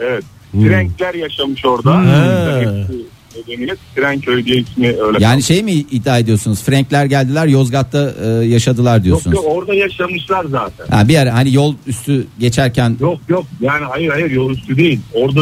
Speaker 5: Evet.
Speaker 3: Hmm.
Speaker 5: Frenkler yaşamış orada.
Speaker 4: Hmm.
Speaker 5: Hepsi nedeniyle Frenköy diye ismi öyle.
Speaker 3: Yani şey mi iddia ediyorsunuz? Frankler geldiler Yozgat'ta e, yaşadılar
Speaker 5: yok
Speaker 3: diyorsunuz.
Speaker 5: yok orada yaşamışlar zaten.
Speaker 3: Ha, bir ara hani yol üstü geçerken
Speaker 5: Yok yok yani hayır hayır yol üstü değil. Orada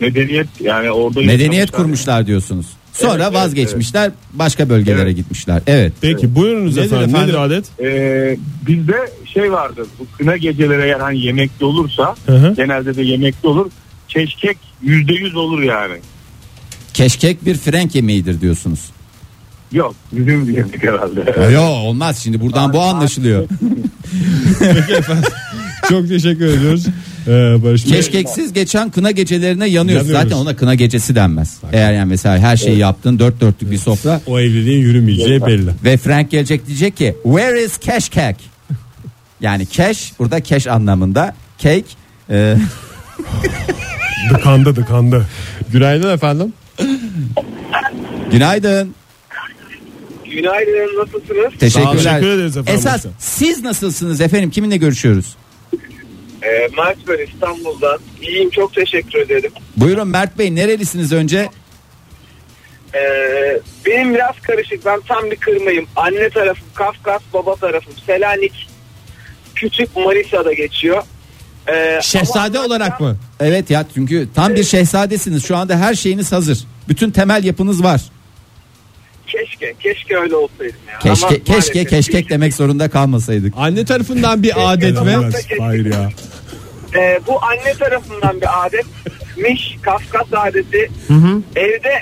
Speaker 5: medeniyet yani orada
Speaker 3: medeniyet
Speaker 5: yaşamışlar.
Speaker 3: kurmuşlar diyorsunuz.
Speaker 5: Evet,
Speaker 3: Sonra
Speaker 5: evet,
Speaker 3: vazgeçmişler başka bölgelere
Speaker 5: Evet.
Speaker 3: gitmişler. Evet.
Speaker 4: Peki buyurunuz
Speaker 2: Nedir
Speaker 4: efendim.
Speaker 2: efendim?
Speaker 4: Nedir adet?
Speaker 5: Ee, bizde şey vardır. Bu kına geceleri eğer hani yemekli olursa
Speaker 4: Hı hı.
Speaker 5: genelde de yemekli olur. Keşkek yüzde yüz olur yani.
Speaker 3: Keşkek bir Frank yemeğidir diyorsunuz.
Speaker 5: Yok bizim bir yemek herhalde.
Speaker 3: Yo olmaz şimdi buradan bu anlaşılıyor.
Speaker 2: Çok teşekkür ediyoruz. Ee, Barış Bey.
Speaker 3: Keşkeksiz geçen kına gecelerine yanıyoruz.
Speaker 2: Yanıyoruz.
Speaker 3: Zaten ona kına gecesi denmez. Eğer yani mesela her şeyi yaptın dört dörtlük bir sofra
Speaker 2: O evliliğin yürümeyeceği belli.
Speaker 3: ve Frank gelecek diyecek ki where is keşkek? Yani keş burada keş anlamında cake e,
Speaker 4: Dıkandı dıkandı.
Speaker 2: Günaydın efendim.
Speaker 3: günaydın.
Speaker 5: Günaydın nasılsınız?
Speaker 3: Teşekkürler.
Speaker 4: Teşekkür ederiz efendim.
Speaker 3: Esas siz nasılsınız efendim? Kiminle görüşüyoruz?
Speaker 5: Ee, Mert ben İstanbul'dan. İyiyim çok teşekkür ederim.
Speaker 3: Buyurun Mert Bey nerelisiniz önce?
Speaker 5: Ee, benim biraz karışık. Ben tam bir kırmayım. Anne tarafım Kafkas, baba tarafım Selanik. Küçük Manisa'da geçiyor. Ee,
Speaker 2: Şehzade
Speaker 5: ama-
Speaker 2: olarak mı?
Speaker 3: Evet ya çünkü tam bir şehzadesiniz. Şu anda her şeyiniz hazır. Bütün temel yapınız var.
Speaker 5: Keşke, keşke öyle olsaydım ya.
Speaker 3: Keşke
Speaker 5: Ama
Speaker 3: keşke
Speaker 5: maalesef
Speaker 3: keşkek demek zorunda kalmasaydık.
Speaker 2: Anne tarafından bir adet ve
Speaker 5: Keşke.
Speaker 4: Hayır ya.
Speaker 5: Ee, bu anne tarafından bir adetmiş. Kafkas adeti. Evde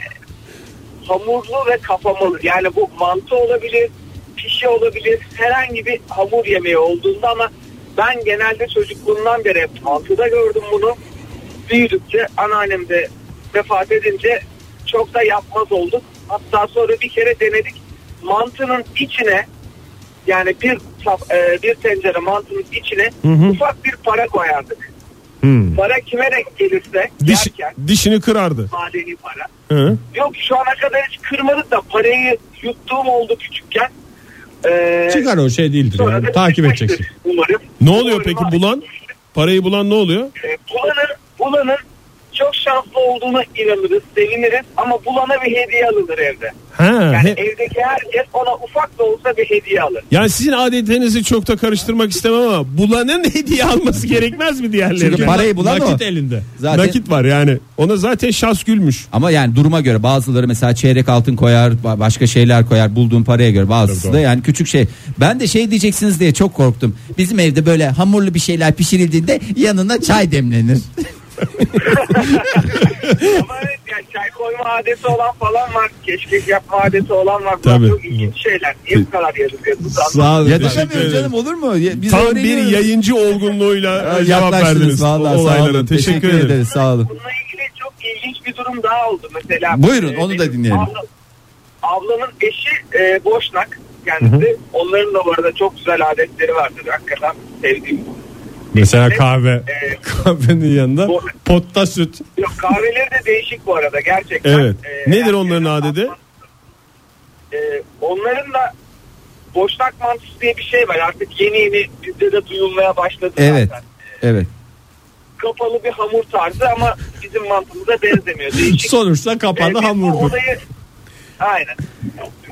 Speaker 5: hamurlu ve kapamalı. Yani bu mantı olabilir, pişi olabilir. Herhangi bir hamur yemeği olduğunda ama ben genelde çocukluğumdan beri hep mantıda gördüm bunu. Büyüdükçe anneannem de vefat edince çok da yapmaz olduk. Hatta sonra bir kere denedik.
Speaker 6: mantının içine yani bir tab- e, bir tencere mantının içine ufak bir para koyardık. Para kime denk gelirse
Speaker 4: Diş,
Speaker 6: yerken
Speaker 4: dişini kırardı.
Speaker 6: madeni para.
Speaker 4: Hı.
Speaker 6: Yok şu ana kadar hiç kırmadık da parayı yuttuğum oldu küçükken. Ee,
Speaker 2: Çıkar o şey değildir
Speaker 6: sonra
Speaker 2: yani.
Speaker 6: da
Speaker 2: Takip
Speaker 6: çıkmıştır
Speaker 2: edeceksin.
Speaker 6: Umarım.
Speaker 4: Ne oluyor
Speaker 6: Umarım
Speaker 4: peki
Speaker 6: abi.
Speaker 4: bulan? Parayı bulan ne oluyor?
Speaker 6: Ee, bulanın, bulanın çok şanslı olduğuna inanırız, seviniriz ama bulana bir hediye alınır evde.
Speaker 4: Ha,
Speaker 6: Yani
Speaker 4: he-
Speaker 6: evdeki herkes ona ufak da olsa bir hediye alır.
Speaker 4: Yani sizin adetinizi çok da karıştırmak istemem ama bulanın hediye alması gerekmez mi diğerlerine?
Speaker 3: Çünkü parayı bulan
Speaker 4: Nakit
Speaker 3: o.
Speaker 4: elinde.
Speaker 3: Zaten-
Speaker 4: Nakit var yani. Ona zaten şans gülmüş.
Speaker 3: Ama yani duruma göre bazıları mesela çeyrek altın koyar, ba- başka şeyler koyar bulduğun paraya göre. Bazısı
Speaker 4: Tabii,
Speaker 3: da
Speaker 4: doğru.
Speaker 3: yani küçük şey. Ben de şey diyeceksiniz diye çok korktum. Bizim evde böyle hamurlu bir şeyler pişirildiğinde yanına çay demlenir.
Speaker 6: ama evet yani çay koyma adeti olan falan var, keşkek yapma adeti olan var. Bunlar
Speaker 4: Tabii.
Speaker 6: çok ilginç şeyler. Niye bu kadar yazık yazık?
Speaker 2: Sağ olun.
Speaker 4: Teşekkür
Speaker 3: Yatışamıyoruz
Speaker 4: ederim.
Speaker 3: canım olur mu? Ya- Biz
Speaker 4: Tam bir
Speaker 3: öğreniyoruz.
Speaker 4: yayıncı olgunluğuyla e, cevap
Speaker 3: Yaklaştınız
Speaker 4: verdiniz
Speaker 3: vallahi, sağ
Speaker 4: olaylara.
Speaker 3: olun.
Speaker 4: Teşekkür,
Speaker 3: Teşekkür
Speaker 4: ederim.
Speaker 3: ederiz sağ olun.
Speaker 6: Bununla ilgili çok ilginç bir durum daha oldu mesela.
Speaker 3: Buyurun,
Speaker 6: e,
Speaker 3: onu da
Speaker 6: benim
Speaker 3: dinleyelim.
Speaker 6: abla- ablamın eşi e, Boşnak kendisi. Onların da bu arada çok güzel adetleri vardır. Hakikaten sevdiğim.
Speaker 2: Mesela kahve.
Speaker 6: E,
Speaker 2: Kahvenin yanında
Speaker 6: Bu-
Speaker 2: potta süt.
Speaker 6: yok, kahveleri de değişik bu arada gerçekten. Ee,
Speaker 4: Evet. Nedir onların
Speaker 6: herkesin
Speaker 4: adeti?
Speaker 6: E, onların da Boşnak mantısı diye bir şey var. Artık yeni yeni bizde de duyulmaya başladı.
Speaker 3: Evet.
Speaker 6: zaten.
Speaker 3: Evet.
Speaker 6: Kapalı bir hamur tarzı ama bizim mantımıza benzemiyor. Değişik
Speaker 2: Sonuçta kapandı
Speaker 6: Ee, biz bu
Speaker 2: hamurdu.
Speaker 6: Olayı, aynen.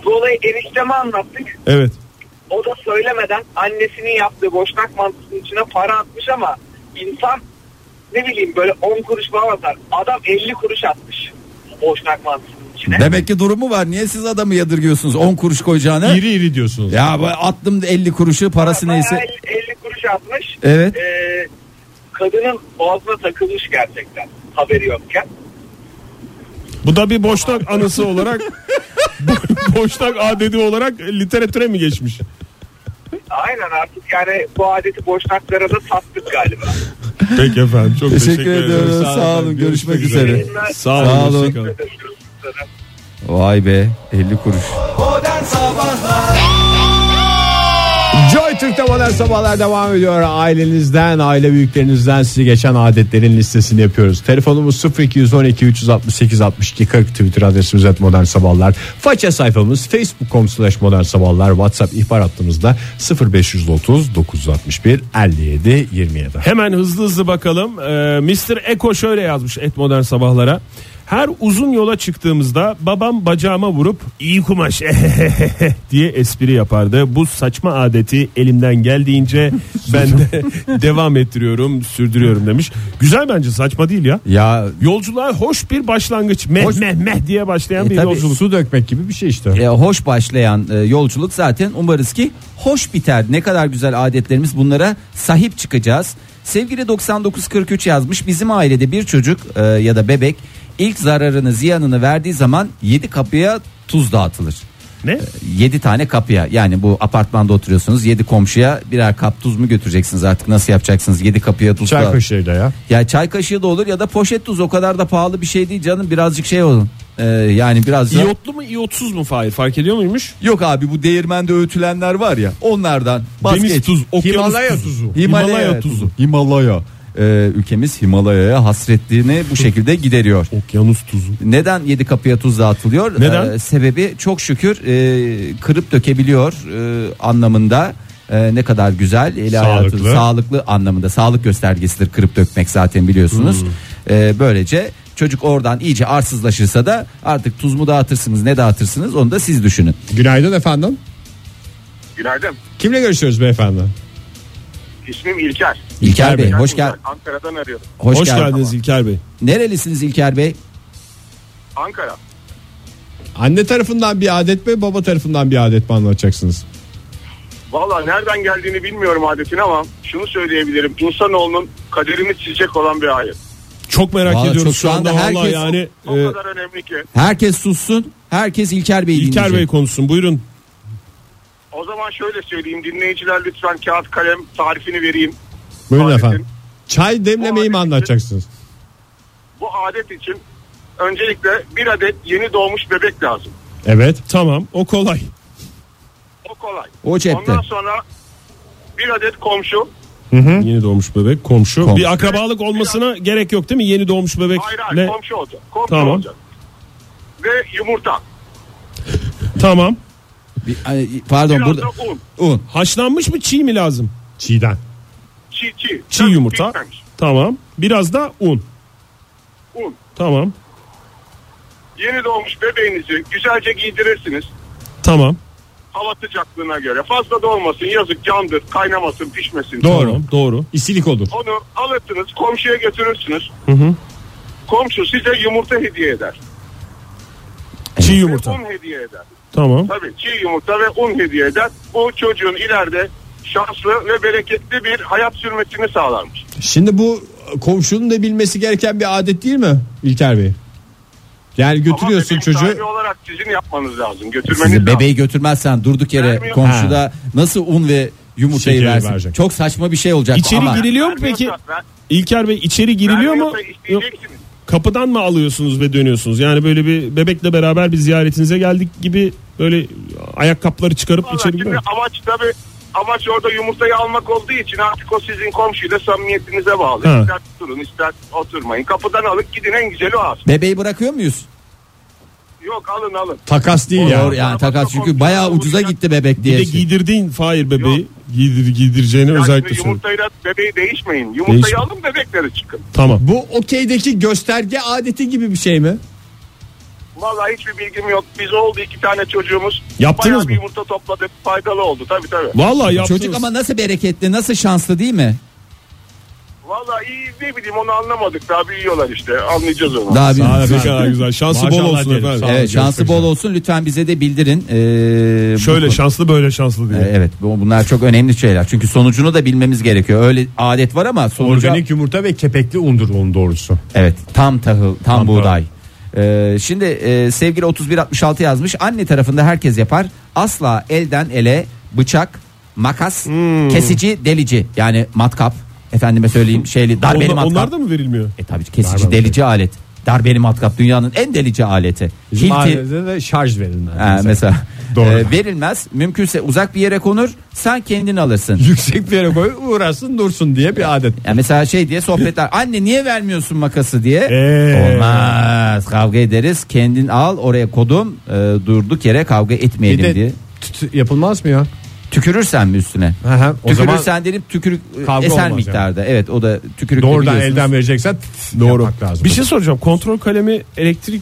Speaker 6: Bu olayı enişteme anlattık.
Speaker 4: Evet.
Speaker 6: O da söylemeden annesinin yaptığı boşnak mantısının içine para atmış ama insan ne bileyim böyle 10 kuruş falan atar. Adam 50 kuruş atmış boşnak mantısının içine.
Speaker 3: Demek ki durumu var. Niye siz adamı yadırgıyorsunuz 10 kuruş koyacağına?
Speaker 2: İri iri diyorsunuz.
Speaker 3: Ya ben attım da 50 kuruşu parası
Speaker 6: Bayağı
Speaker 3: neyse.
Speaker 6: 50, 50 kuruş atmış.
Speaker 2: E-
Speaker 3: Evet.
Speaker 6: Ee, kadının boğazına takılmış gerçekten haberi yokken.
Speaker 4: Bu da bir boşnak anısı olarak bo- boşnak adedi olarak literatüre mi geçmiş?
Speaker 6: Aynen artık yani bu adeti boşnaklara da sattık galiba.
Speaker 4: Peki efendim. Çok teşekkür,
Speaker 3: Teşekkür ediyoruz.
Speaker 4: ederim.
Speaker 3: Sağ olun. Görüşmek üzere.
Speaker 4: Sağ olun.
Speaker 3: Sağ
Speaker 4: hoşça
Speaker 3: olun.
Speaker 4: kalın.
Speaker 3: Vay be 50 kuruş.
Speaker 2: Joy Türk'te modern sabahlar devam ediyor. Ailenizden, aile büyüklerinizden sizi geçen adetlerin listesini yapıyoruz. Telefonumuz 0212 368 62 40 Twitter adresimiz et modern sabahlar. Faça sayfamız facebook.com slash modern sabahlar. Whatsapp ihbar hattımızda 0530 961 57 27.
Speaker 4: Hemen hızlı hızlı bakalım. Ee, Mr. Eko şöyle yazmış et modern sabahlara. Her uzun yola çıktığımızda babam bacağıma vurup iyi kumaş diye espri yapardı. Bu saçma adeti elimden geldiğince ben de devam ettiriyorum, sürdürüyorum demiş. Güzel bence saçma değil ya.
Speaker 3: Ya
Speaker 4: Yolculuğa hoş bir başlangıç. Meh
Speaker 3: Hoş-
Speaker 4: meh meh diye başlayan
Speaker 3: E,
Speaker 4: bir
Speaker 3: tabii.
Speaker 4: yolculuk.
Speaker 2: Su dökmek gibi bir şey işte.
Speaker 3: e, hoş başlayan e, yolculuk zaten umarız ki hoş biter. Ne kadar güzel adetlerimiz bunlara sahip çıkacağız. Sevgili 9943 yazmış bizim ailede bir çocuk e, ya da bebek ilk zararını ziyanını verdiği zaman 7 kapıya tuz dağıtılır.
Speaker 4: Ne?
Speaker 3: 7 tane kapıya yani bu apartmanda oturuyorsunuz 7 komşuya birer kap tuz mu götüreceksiniz artık nasıl yapacaksınız 7 kapıya tuz
Speaker 2: Çay
Speaker 3: dağı-
Speaker 2: kaşığıyla ya.
Speaker 3: Ya çay kaşığı da olur ya da poşet tuz o kadar da pahalı bir şey değil canım birazcık şey olun. Ee, yani biraz da...
Speaker 4: İyotlu E, mu iyotsuz mu Fahir fark ediyor muymuş?
Speaker 3: Yok abi bu değirmende öğütülenler var ya onlardan
Speaker 4: Deniz tuz, okyanus tuzu.
Speaker 3: Himalaya,
Speaker 4: Himalaya tuzu.
Speaker 3: tuzu. Himalaya. Ee, ülkemiz Himalaya'ya hasretliğini bu şekilde gideriyor.
Speaker 4: Okyanus tuzu.
Speaker 3: Neden 7 kapıya tuz dağıtılıyor?
Speaker 4: Neden?
Speaker 3: Ee, sebebi çok şükür e, kırıp dökebiliyor e, anlamında. E, ne kadar güzel eli hayatı
Speaker 4: Sağlıklı.
Speaker 3: sağlıklı anlamında sağlık göstergesidir kırıp dökmek zaten biliyorsunuz.
Speaker 4: Hmm.
Speaker 3: E, böylece çocuk oradan iyice arsızlaşırsa da artık tuz mu dağıtırsınız ne dağıtırsınız onu da siz düşünün.
Speaker 2: Günaydın efendim.
Speaker 5: Günaydın.
Speaker 2: Kimle görüşüyoruz beyefendi?
Speaker 5: İsmim İlker.
Speaker 3: İlker Bey
Speaker 5: Ben
Speaker 3: hoş gel
Speaker 5: İlker, Ankara'dan arıyorum.
Speaker 3: hoş,
Speaker 4: Hoş,
Speaker 3: geldiniz.
Speaker 4: geldiniz İlker Bey.
Speaker 3: Nerelisiniz İlker Bey?
Speaker 5: Ankara.
Speaker 2: Anne tarafından bir adet mi baba tarafından bir adet mi anlatacaksınız?
Speaker 5: Valla nereden geldiğini bilmiyorum adetini ama şunu söyleyebilirim. İnsanoğlunun kaderini çizecek olan bir ayet.
Speaker 4: Çok merak
Speaker 3: Vallahi
Speaker 4: ediyoruz
Speaker 3: çok-
Speaker 4: şu anda
Speaker 3: herkes-
Speaker 4: vallahi yani.
Speaker 5: O
Speaker 4: e,
Speaker 3: Ee,
Speaker 5: kadar önemli ki.
Speaker 3: Herkes sussun. Herkes İlker Bey'i
Speaker 4: İlker Bey
Speaker 3: dinleyecek.
Speaker 4: konuşsun buyurun.
Speaker 5: O zaman şöyle söyleyeyim. Dinleyiciler lütfen kağıt kalem tarifini vereyim.
Speaker 2: Buyurun
Speaker 5: Adetin-
Speaker 2: efendim. Çay demlemeyi mi
Speaker 5: Bu adetin-
Speaker 2: anlatacaksınız?
Speaker 5: Bu adet için öncelikle bir adet yeni doğmuş bebek lazım.
Speaker 2: Evet.
Speaker 4: Tamam o kolay.
Speaker 6: kolay.
Speaker 3: O cepte.
Speaker 6: Ondan sonra bir adet komşu.
Speaker 4: Yeni doğmuş bebek komşu.
Speaker 3: Komşu.
Speaker 4: Bir akrabalık olmasına gerek yok değil mi? Yeni doğmuş bebekle.
Speaker 6: Hayır hayır komşu olacak. Komşu
Speaker 4: Tamam.
Speaker 6: olacak. Ve yumurta.
Speaker 4: Tamam.
Speaker 3: Bir- ay, pardon
Speaker 6: Biraz
Speaker 3: burada
Speaker 6: da un.
Speaker 3: un.
Speaker 4: Haşlanmış mı çiğ mi lazım?
Speaker 2: Çiğden.
Speaker 6: Çiğ çiğ.
Speaker 4: Çiğ yumurta.
Speaker 6: Pişmemiş.
Speaker 4: Tamam. Biraz da un.
Speaker 6: Un.
Speaker 4: Tamam.
Speaker 6: Yeni doğmuş bebeğinizi güzelce giydirirsiniz.
Speaker 4: Tamam.
Speaker 6: Hava sıcaklığına göre. Fazla da olmasın yazık candır. Kaynamasın pişmesin.
Speaker 4: Doğru. Doğru.
Speaker 2: İstilik olur.
Speaker 6: Onu alırsınız komşuya götürürsünüz. Komşu size yumurta hediye eder.
Speaker 4: Çiğ
Speaker 6: Ve
Speaker 4: yumurta.
Speaker 6: Un hediye eder.
Speaker 4: Tamam.
Speaker 6: Tabii çiğ yumurta ve un hediye eder. Bu çocuğun ileride şanslı ve bereketli bir hayat sürmesini sağlarmış.
Speaker 2: Şimdi bu komşunun da bilmesi gereken bir adet değil mi İlker Bey? Yani götürüyorsun
Speaker 6: Ama bebeğin sahibi
Speaker 2: çocuğu.
Speaker 6: olarak sizin yapmanız lazım. Götürmeniz
Speaker 3: Sizi
Speaker 6: lazım.
Speaker 3: bebeği götürmezsen durduk yere
Speaker 6: Vermiyor.
Speaker 3: komşuda nasıl un ve yumurtayı
Speaker 2: Şekeri
Speaker 3: versin.
Speaker 2: verecek.
Speaker 3: Çok saçma bir şey olacak
Speaker 4: İçeri
Speaker 3: ama.
Speaker 4: giriliyor mu peki?
Speaker 6: Vermiyorsa- ver-
Speaker 4: İlker Bey içeri giriliyor mu?
Speaker 6: vermiyorsa
Speaker 4: Yok.
Speaker 6: isteyeceksiniz.
Speaker 4: Kapıdan mı alıyorsunuz ve dönüyorsunuz? Yani böyle bir bebekle beraber bir ziyaretinize geldik gibi böyle ayakkabıları çıkarıp
Speaker 6: Vallahi
Speaker 4: içeri
Speaker 6: Şimdi
Speaker 4: giriyor.
Speaker 6: amaç tabii amaç orada yumurtayı almak olduğu için artık o sizin komşuyla samimiyetinize bağlı.
Speaker 4: Ha.
Speaker 6: İster oturun ister oturmayın. Kapıdan alıp gidin en güzeli o aslında.
Speaker 3: Bebeği bırakıyor muyuz?
Speaker 6: Yok alın alın.
Speaker 2: Takas değil ya.
Speaker 3: Doğru yani takas çünkü bayağı ucuza gitti bebek
Speaker 4: Bir
Speaker 3: diye.
Speaker 4: de
Speaker 3: şey.
Speaker 4: giydirdiğin Fahir bebeği. Giydir, giydireceğini
Speaker 6: Yani
Speaker 4: özellikle
Speaker 6: şimdi
Speaker 4: söylüyorum.
Speaker 6: yumurtayla bebeği değişmeyin. Yumurtayı
Speaker 4: Değişme.
Speaker 6: alın bebekleri çıkın.
Speaker 4: Tamam.
Speaker 2: Bu okeydeki gösterge adeti gibi bir şey mi?
Speaker 6: Vallahi hiçbir bilgim yok. Biz oldu iki tane çocuğumuz.
Speaker 4: Yaptınız
Speaker 6: Bayağı
Speaker 4: mı?
Speaker 6: bir yumurta topladık. Faydalı oldu tabii tabii.
Speaker 4: Vallahi yaptınız.
Speaker 3: Çocuk ama nasıl bereketli nasıl şanslı değil mi?
Speaker 6: Vallahi iyi ne bileyim onu anlamadık. Daha büyüyorlar işte. Anlayacağız onu.
Speaker 3: Daha bir
Speaker 4: Sağ olun efendim. Ne kadar güzel. Şansı
Speaker 2: Maşallah
Speaker 4: bol olsun
Speaker 2: diyelim.
Speaker 4: efendim.
Speaker 2: Sağ olun.
Speaker 3: Evet şansı
Speaker 2: Görüşmek
Speaker 3: bol
Speaker 2: üzere.
Speaker 3: olsun lütfen bize de bildirin. Ee, bu
Speaker 4: Şöyle
Speaker 3: konu-
Speaker 4: şanslı böyle şanslı diye.
Speaker 3: Ee, Evet bu- bunlar çok önemli şeyler çünkü sonucunu da bilmemiz gerekiyor. Öyle adet var ama sonucu
Speaker 2: Organik yumurta ve kepekli undur onun doğrusu.
Speaker 3: Evet tam tahıl tam, buğday. Ee, şimdi e, sevgili 3166 yazmış anne tarafında herkes yapar asla elden ele bıçak makas
Speaker 4: Hmm.
Speaker 3: kesici delici yani matkap efendime söyleyeyim şeyli darbeli
Speaker 4: Onlar,
Speaker 3: matkap.
Speaker 4: onlar da mı verilmiyor?
Speaker 3: E tabii ki kesici
Speaker 2: Darbeli
Speaker 3: delici alet darbeli matkap dünyanın en delici aleti.
Speaker 2: Bizim
Speaker 3: Hilti
Speaker 2: ailede de şarj verin.
Speaker 3: Ha, mesela
Speaker 2: Doğru.
Speaker 3: e, verilmez mümkünse uzak bir yere konur sen kendin alırsın.
Speaker 2: Yüksek bir yere koy uğrasın dursun diye bir adet.
Speaker 3: Ya mesela şey diye sohbetler. Anne niye vermiyorsun makası diye.
Speaker 4: Ee.
Speaker 3: Olmaz. Kavga ederiz. Kendin al oraya kodum. e, durduk yere kavga
Speaker 2: Bir
Speaker 3: etmeyelim diye.
Speaker 2: de tüt- yapılmaz mı ya?
Speaker 3: Tükürürsen mi üstüne?
Speaker 2: Aha, o
Speaker 3: Tükürürsen
Speaker 2: zaman
Speaker 3: derim tükürük
Speaker 2: Kavga
Speaker 3: eser
Speaker 2: olmaz
Speaker 3: miktarda. Evet o da tükürük
Speaker 2: doğrudan
Speaker 3: biliyorsunuz.
Speaker 2: elden vereceksen doğru. yapmak lazım.
Speaker 4: Bir şey soracağım. Kontrol kalemi elektrikli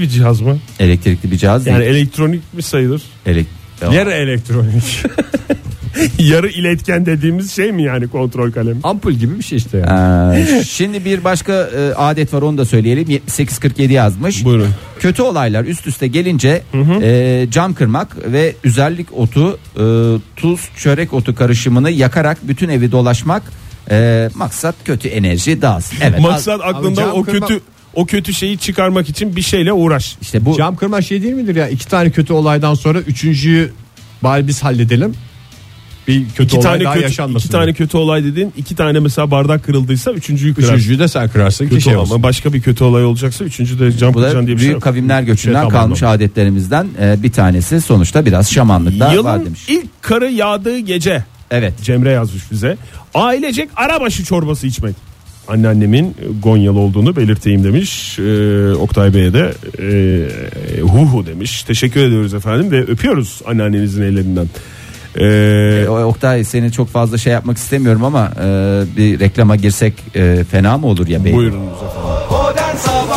Speaker 4: bir cihaz mı?
Speaker 3: Elektrikli bir cihaz
Speaker 4: Yani
Speaker 3: değil.
Speaker 4: elektronik mi sayılır?
Speaker 3: Elek-
Speaker 2: Yarı elektronik.
Speaker 4: Yarı iletken dediğimiz şey mi yani kontrol kalemi?
Speaker 2: Ampul gibi bir şey işte. Yani.
Speaker 3: Ee, Şimdi bir başka e, adet var onu da söyleyelim. 7847 yazmış.
Speaker 4: Buyurun.
Speaker 3: Kötü olaylar üst üste gelince e, cam kırmak ve üzerlik otu, e, tuz, çörek otu karışımını yakarak bütün evi dolaşmak e, maksat kötü enerji dağılsın. Evet.
Speaker 4: Maksat
Speaker 2: cam
Speaker 4: aklından o
Speaker 2: kırma-
Speaker 4: kötü o kötü şeyi çıkarmak için bir şeyle uğraş.
Speaker 3: İşte bu
Speaker 2: Cam kırma şey değil midir ya? İki tane kötü olaydan sonra üçüncüyü bari biz halledelim. Bir kötü
Speaker 4: İki
Speaker 2: olay
Speaker 4: tane
Speaker 2: daha
Speaker 4: kötü
Speaker 2: yaşanmasın.
Speaker 4: iki tane kötü olay dedin. iki tane mesela bardak kırıldıysa üçüncüyü kırar.
Speaker 2: Üçüncüyü de sen kırarsın
Speaker 4: Kötü
Speaker 2: ki şey
Speaker 4: olan.
Speaker 2: olsun.
Speaker 4: Ama başka bir kötü olay olacaksa üçüncü de cam
Speaker 3: bu da
Speaker 4: kıracaksın diye bir şey
Speaker 3: büyük
Speaker 4: yok.
Speaker 3: kavimler göçünden
Speaker 4: Şey, tamam,
Speaker 3: kalmış adetlerimizden e, bir tanesi sonuçta biraz şamanlık da var
Speaker 4: Yılın
Speaker 3: demiş.
Speaker 4: ilk karı yağdığı gece
Speaker 3: Evet.
Speaker 4: Cemre yazmış bize. Ailecek arabaşı çorbası içmek. Anneannemin e, Gonyalı olduğunu belirteyim demiş. Ee, Oktay Bey'e de e, hu hu demiş. Teşekkür ediyoruz efendim ve öpüyoruz anneannenizin ellerinden. Ee,
Speaker 3: E, Oktay seni çok fazla şey yapmak istemiyorum ama e, bir reklama girsek e, fena mı olur ya bey?
Speaker 4: buyurunuz efendim.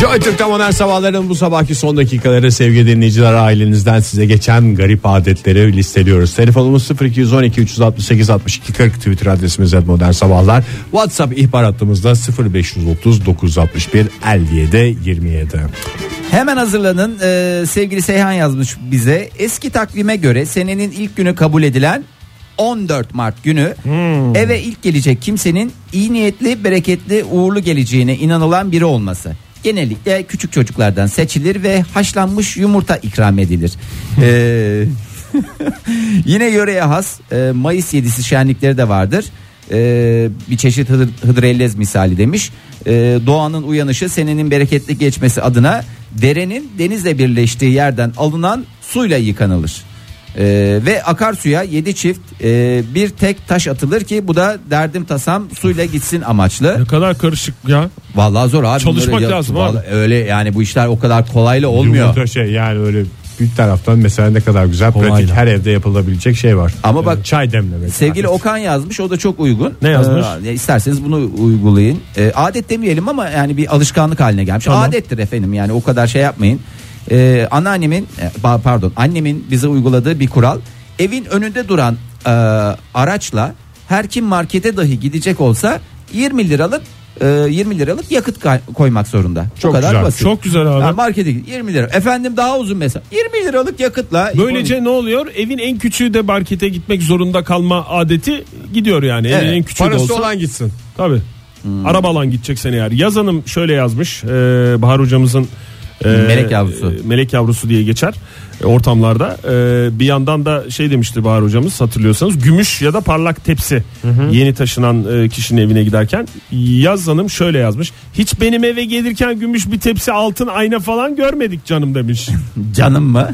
Speaker 2: Joy Türk'te modern sabahların bu sabahki son dakikaları sevgili dinleyiciler ailenizden size geçen garip adetleri listeliyoruz. Telefonumuz 0212 368 62 40 Twitter adresimiz @modernsabahlar. modern sabahlar. WhatsApp ihbar hattımızda 0530 961 57 27.
Speaker 3: Hemen hazırlanın. Ee, sevgili Seyhan yazmış bize. Eski takvime göre senenin ilk günü kabul edilen 14 Mart günü eve ilk gelecek kimsenin iyi niyetli, bereketli, uğurlu geleceğine inanılan biri olması. Genellikle küçük çocuklardan seçilir ve haşlanmış yumurta ikram edilir. Ee, yine yöreye has e, Mayıs 7'si şenlikleri de vardır. e, bir çeşit hıdır, hıdrellez misali demiş. E, doğanın uyanışı senenin bereketli geçmesi adına derenin denizle birleştiği yerden alınan suyla yıkanılır. E, ve akarsuya 7 çift e, bir tek taş atılır ki bu da derdim tasam suyla gitsin amaçlı.
Speaker 4: Ne kadar karışık ya.
Speaker 3: Vallahi zor abi.
Speaker 4: Çalışmak
Speaker 3: Bunları yap-
Speaker 4: lazım abi.
Speaker 3: Vallahi Öyle yani bu işler o kadar kolayla olmuyor.
Speaker 2: Yumurta şey yani öyle bir taraftan mesela ne kadar güzel pratik
Speaker 4: Kolayla.
Speaker 2: her evde yapılabilecek şey var.
Speaker 3: Ama bak-
Speaker 2: Yani çay demlemek.
Speaker 3: Sevgili Okan yazmış o da çok uygun.
Speaker 4: Ne yazmış?
Speaker 3: Ee, isterseniz bunu uygulayın. Ee, adet demeyelim ama yani bir alışkanlık haline gelmiş. Adettir efendim yani o kadar şey yapmayın. Ee, anneannemin e, ba- pardon annemin bize uyguladığı bir kural. Evin önünde duran e, araçla her kim markete dahi gidecek olsa 20 liralık e, 20 liralık yakıt kay- koymak zorunda.
Speaker 2: Çok
Speaker 3: o kadar
Speaker 2: güzel,
Speaker 3: basit.
Speaker 4: Çok güzel abi.
Speaker 3: Ha, markete git 20 lira. Efendim daha uzun mesela. 20 liralık yakıtla
Speaker 4: Böylece ne oluyor? Evin en küçüğü de markete gitmek zorunda kalma adeti gidiyor yani. Evin
Speaker 3: Evet.
Speaker 4: en küçüğü de
Speaker 2: Parası
Speaker 4: olsa.
Speaker 2: olan gitsin.
Speaker 4: Tabii.
Speaker 3: Hmm.
Speaker 4: Araba alan gideceksen eğer. Yaz Hanım şöyle yazmış. e, Bahar hocamızın e,
Speaker 3: Melek yavrusu.
Speaker 4: e, melek yavrusu diye geçer e, ortamlarda. E, bir yandan da şey demişti Bahar hocamız hatırlıyorsanız. Gümüş ya da parlak tepsi. Yeni taşınan e, kişinin evine giderken. Yaz Hanım şöyle yazmış. Hiç benim eve gelirken gümüş bir tepsi altın ayna falan görmedik canım demiş.
Speaker 3: Canım mı?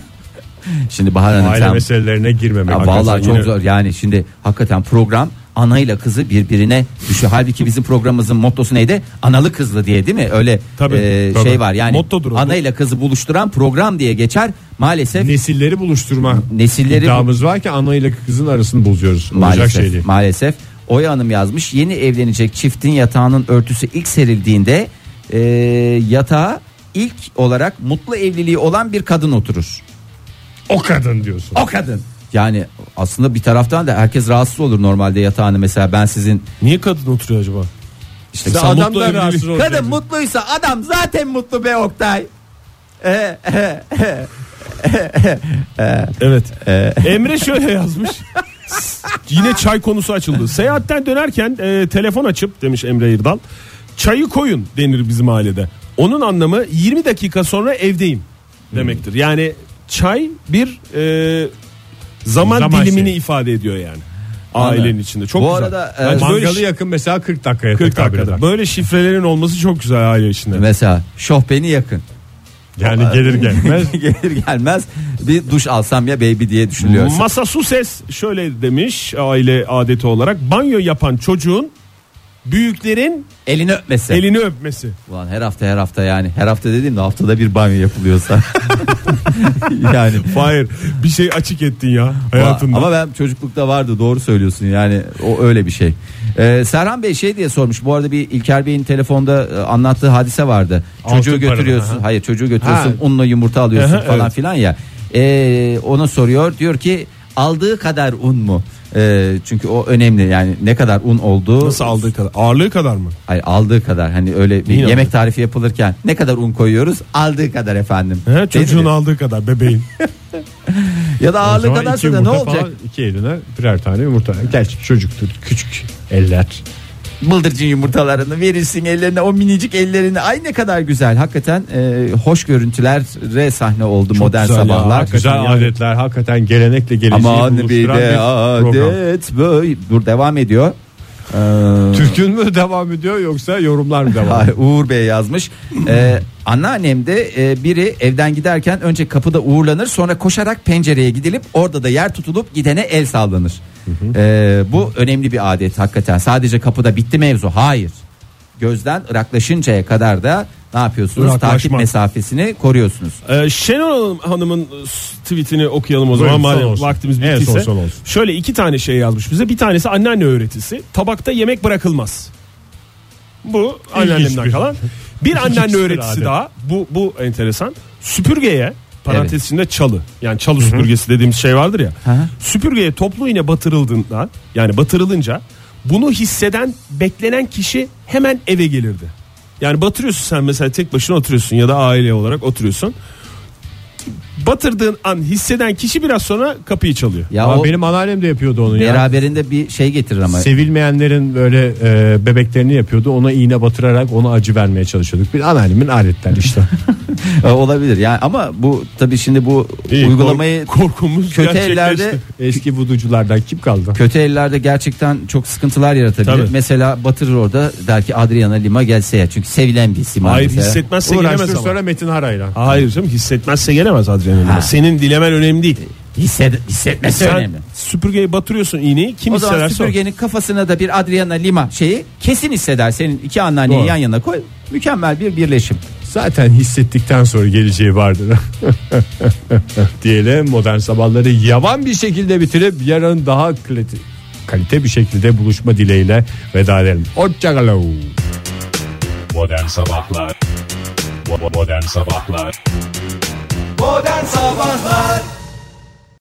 Speaker 3: şimdi Bahar Hanım
Speaker 2: Aile
Speaker 3: sen-
Speaker 2: meselelerine girmemek.
Speaker 3: Ya
Speaker 2: Hakikaten
Speaker 3: vallahi çok
Speaker 2: yine-
Speaker 3: zor yani şimdi hakikaten program anayla kızı birbirine düşüyor. Halbuki bizim programımızın mottosu neydi? Analı kızlı diye değil mi? Öyle
Speaker 4: Tabii,
Speaker 3: e,
Speaker 4: tabii.
Speaker 3: şey var yani
Speaker 4: Mottodur o.
Speaker 3: anayla kızı buluşturan program diye geçer. Maalesef
Speaker 2: Nesilleri buluşturma
Speaker 3: Nesilleri-
Speaker 2: iddiamız var ki ana ile kızın arasını bozuyoruz. Olacak
Speaker 3: maalesef
Speaker 2: şey değil.
Speaker 3: maalesef Oya Hanım yazmış yeni evlenecek çiftin yatağının örtüsü ilk serildiğinde e, yatağa ilk olarak mutlu evliliği olan bir kadın oturur.
Speaker 2: O kadın diyorsun.
Speaker 3: O kadın. Yani aslında bir taraftan da herkes rahatsız olur normalde yatağını mesela ben sizin
Speaker 4: Niye kadın oturuyor acaba?
Speaker 3: işte
Speaker 2: Sen
Speaker 4: mutlu
Speaker 2: adamdan
Speaker 4: evlilik-
Speaker 2: rahatsız olacaksın.
Speaker 3: Kadın mutluysa adam zaten mutlu be Oktay. Ee, e,
Speaker 4: Evet.
Speaker 2: Ee,
Speaker 4: Emre şöyle yazmış. Yine çay konusu açıldı. Seyahatten dönerken e, telefon açıp demiş Emre İrdal. Çayı koyun denir bizim ailede. Onun anlamı 20 dakika sonra evdeyim demektir.
Speaker 2: Hmm.
Speaker 4: Yani çay bir e, zaman,
Speaker 2: Zaman şey.
Speaker 4: dilimini
Speaker 2: şeyi.
Speaker 4: ifade ediyor yani. Ailenin içinde. Çok
Speaker 3: Bu
Speaker 4: güzel.
Speaker 3: arada, e,
Speaker 4: Bence böyle
Speaker 2: Mangalı
Speaker 4: şi-
Speaker 2: yakın mesela 40 dakikaya
Speaker 4: 40
Speaker 2: tekabül
Speaker 4: dakikada.
Speaker 2: eder.
Speaker 4: Böyle şifrelerin olması çok güzel aile içinde.
Speaker 3: Mesela şoh beni yakın.
Speaker 2: Yani gelir gelmez.
Speaker 3: Gelir gelmez bir duş alsam ya baby diye düşünülüyor.
Speaker 4: Masa su ses şöyle demiş aile adeti olarak banyo yapan çocuğun büyüklerin
Speaker 3: Elini öpmesi.
Speaker 4: elini öpmesi.
Speaker 3: Ulan her hafta her hafta yani her hafta dediğimde haftada bir banyo yapılıyorsa. yani.
Speaker 4: Hayır bir şey açık ettin ya hayatında.
Speaker 3: Ama ben çocuklukta vardı doğru söylüyorsun yani o öyle bir şey. Ee, Serhan Bey şey diye sormuş bu arada bir İlker Bey'in telefonda e, anlattığı hadise vardı. Çocuğu
Speaker 2: Altın paranı,
Speaker 3: götürüyorsun
Speaker 2: aha.
Speaker 3: hayır çocuğu götürüyorsun
Speaker 2: Ha.
Speaker 3: unla yumurta alıyorsun
Speaker 4: Aha,
Speaker 3: falan
Speaker 4: evet.
Speaker 3: filan ya. Ee, ona soruyor diyor ki aldığı kadar un mu? Ee, çünkü o önemli yani ne kadar un olduğu
Speaker 4: Nasıl aldığı kadar ağırlığı kadar mı?
Speaker 3: Hayır, aldığı kadar hani öyle bir
Speaker 4: Yine
Speaker 3: yemek tarifi yapılırken ne kadar un koyuyoruz aldığı kadar efendim.
Speaker 4: He, çocuğun
Speaker 3: Denir.
Speaker 4: aldığı kadar bebeğin.
Speaker 3: ya da
Speaker 2: O
Speaker 3: ağırlığı
Speaker 2: zaman iki
Speaker 3: kadarsa da ne
Speaker 2: yumurta
Speaker 3: olacak?
Speaker 2: Falan, iki eline birer tane yumurta. Gerçi çocuktur küçük eller.
Speaker 3: bıldırcın yumurtalarını verirsin ellerine o minicik ellerini ay ne kadar güzel hakikaten e, hoş görüntülere sahne oldu modern
Speaker 2: güzel ya,
Speaker 3: sabahlar
Speaker 2: güzel adetler hakikaten gelenekle geleceği
Speaker 3: aman bir
Speaker 2: buluşturan
Speaker 3: de
Speaker 2: program.
Speaker 3: adet böyle dur devam ediyor Ee,
Speaker 2: Türk'ün mü devam ediyor yoksa yorumlar mı devam
Speaker 3: Ay, Uğur Bey yazmış. Ee, anneannem de e, biri evden giderken önce kapıda uğurlanır sonra koşarak pencereye gidilip orada da yer tutulup gidene el sallanır. Ee, bu önemli bir adet hakikaten. Sadece kapıda bitti mevzu. Hayır. Gözden ıraklaşıncaya kadar da ne yapıyorsunuz?
Speaker 4: Iraklaşma.
Speaker 3: Takip mesafesini koruyorsunuz.
Speaker 4: Ee, Şenol Hanım- Hanım'ın e, tweetini okuyalım o
Speaker 2: Buyurun,
Speaker 4: zaman.
Speaker 2: son
Speaker 4: Madem
Speaker 2: olsun.
Speaker 4: vaktimiz
Speaker 2: En son
Speaker 4: bittiyse.
Speaker 2: son olsun.
Speaker 4: Şöyle iki tane şey yazmış bize. Bir tanesi anneanne öğretisi. Tabakta yemek bırakılmaz. Bu anneannemden
Speaker 2: bir-
Speaker 4: kalan. Bir anneanne
Speaker 2: bir
Speaker 4: öğretisi
Speaker 2: adet.
Speaker 4: daha. Bu bu enteresan. Süpürgeye parantez içinde çalı. Yani çalı süpürgesi dediğimiz şey vardır ya.
Speaker 3: Hı hı.
Speaker 4: Süpürgeye toplu iğne batırıldığında yani batırılınca bunu hisseden beklenen kişi hemen eve gelirdi. Yani batırıyorsun sen mesela tek başına oturuyorsun ya da aile olarak oturuyorsun batırdığın an hisseden kişi biraz sonra kapıyı çalıyor.
Speaker 3: Ya
Speaker 2: Aa,
Speaker 3: o
Speaker 2: benim anneannem de yapıyordu onu ya.
Speaker 3: beraberinde bir şey getirir ama.
Speaker 2: Sevilmeyenlerin böyle e, bebeklerini yapıyordu. Ona iğne batırarak ona acı vermeye çalışıyorduk. Bir anneannemin aletleri işte.
Speaker 3: E, olabilir. Yani ama bu tabii şimdi bu
Speaker 4: İyi, kork-
Speaker 3: uygulamayı
Speaker 4: korkumuz
Speaker 3: kötü
Speaker 4: gerçekleşti.
Speaker 3: ellerde
Speaker 2: Eski vuduculardan kim kaldı?
Speaker 3: kötü ellerde gerçekten çok sıkıntılar yaratabilir.
Speaker 4: Tabii.
Speaker 3: Mesela batırır orada der ki Adriana Lima gelse ya çünkü sevilen bir isim.
Speaker 4: Hayır
Speaker 3: mesela.
Speaker 4: hissetmezse
Speaker 2: Uğraştır
Speaker 4: gelemez ama.
Speaker 2: sonra Metin Harayla.
Speaker 4: Hayır canım hissetmezse gelemez adrenalin. Senin dilemen önemli değil.
Speaker 3: Hissed- hissetmesi
Speaker 4: Sen
Speaker 3: önemli.
Speaker 4: süpürgeye batırıyorsun iğneyi kim
Speaker 3: O zaman
Speaker 4: hissederse o.
Speaker 3: süpürgenin kafasına da bir Adriana Lima şeyi kesin hisseder. Senin iki anneanneyi
Speaker 2: Doğru.
Speaker 3: yan yana koy. Mükemmel bir birleşim.
Speaker 2: Zaten hissettikten sonra geleceği vardır. Diyelim modern sabahları yavan bir şekilde bitirip yarın daha kalite, kalite bir şekilde buluşma dileğiyle veda edelim. Hoşçakalın.
Speaker 7: Modern Sabahlar Bo- Modern Sabahlar
Speaker 8: Modern Sabahlar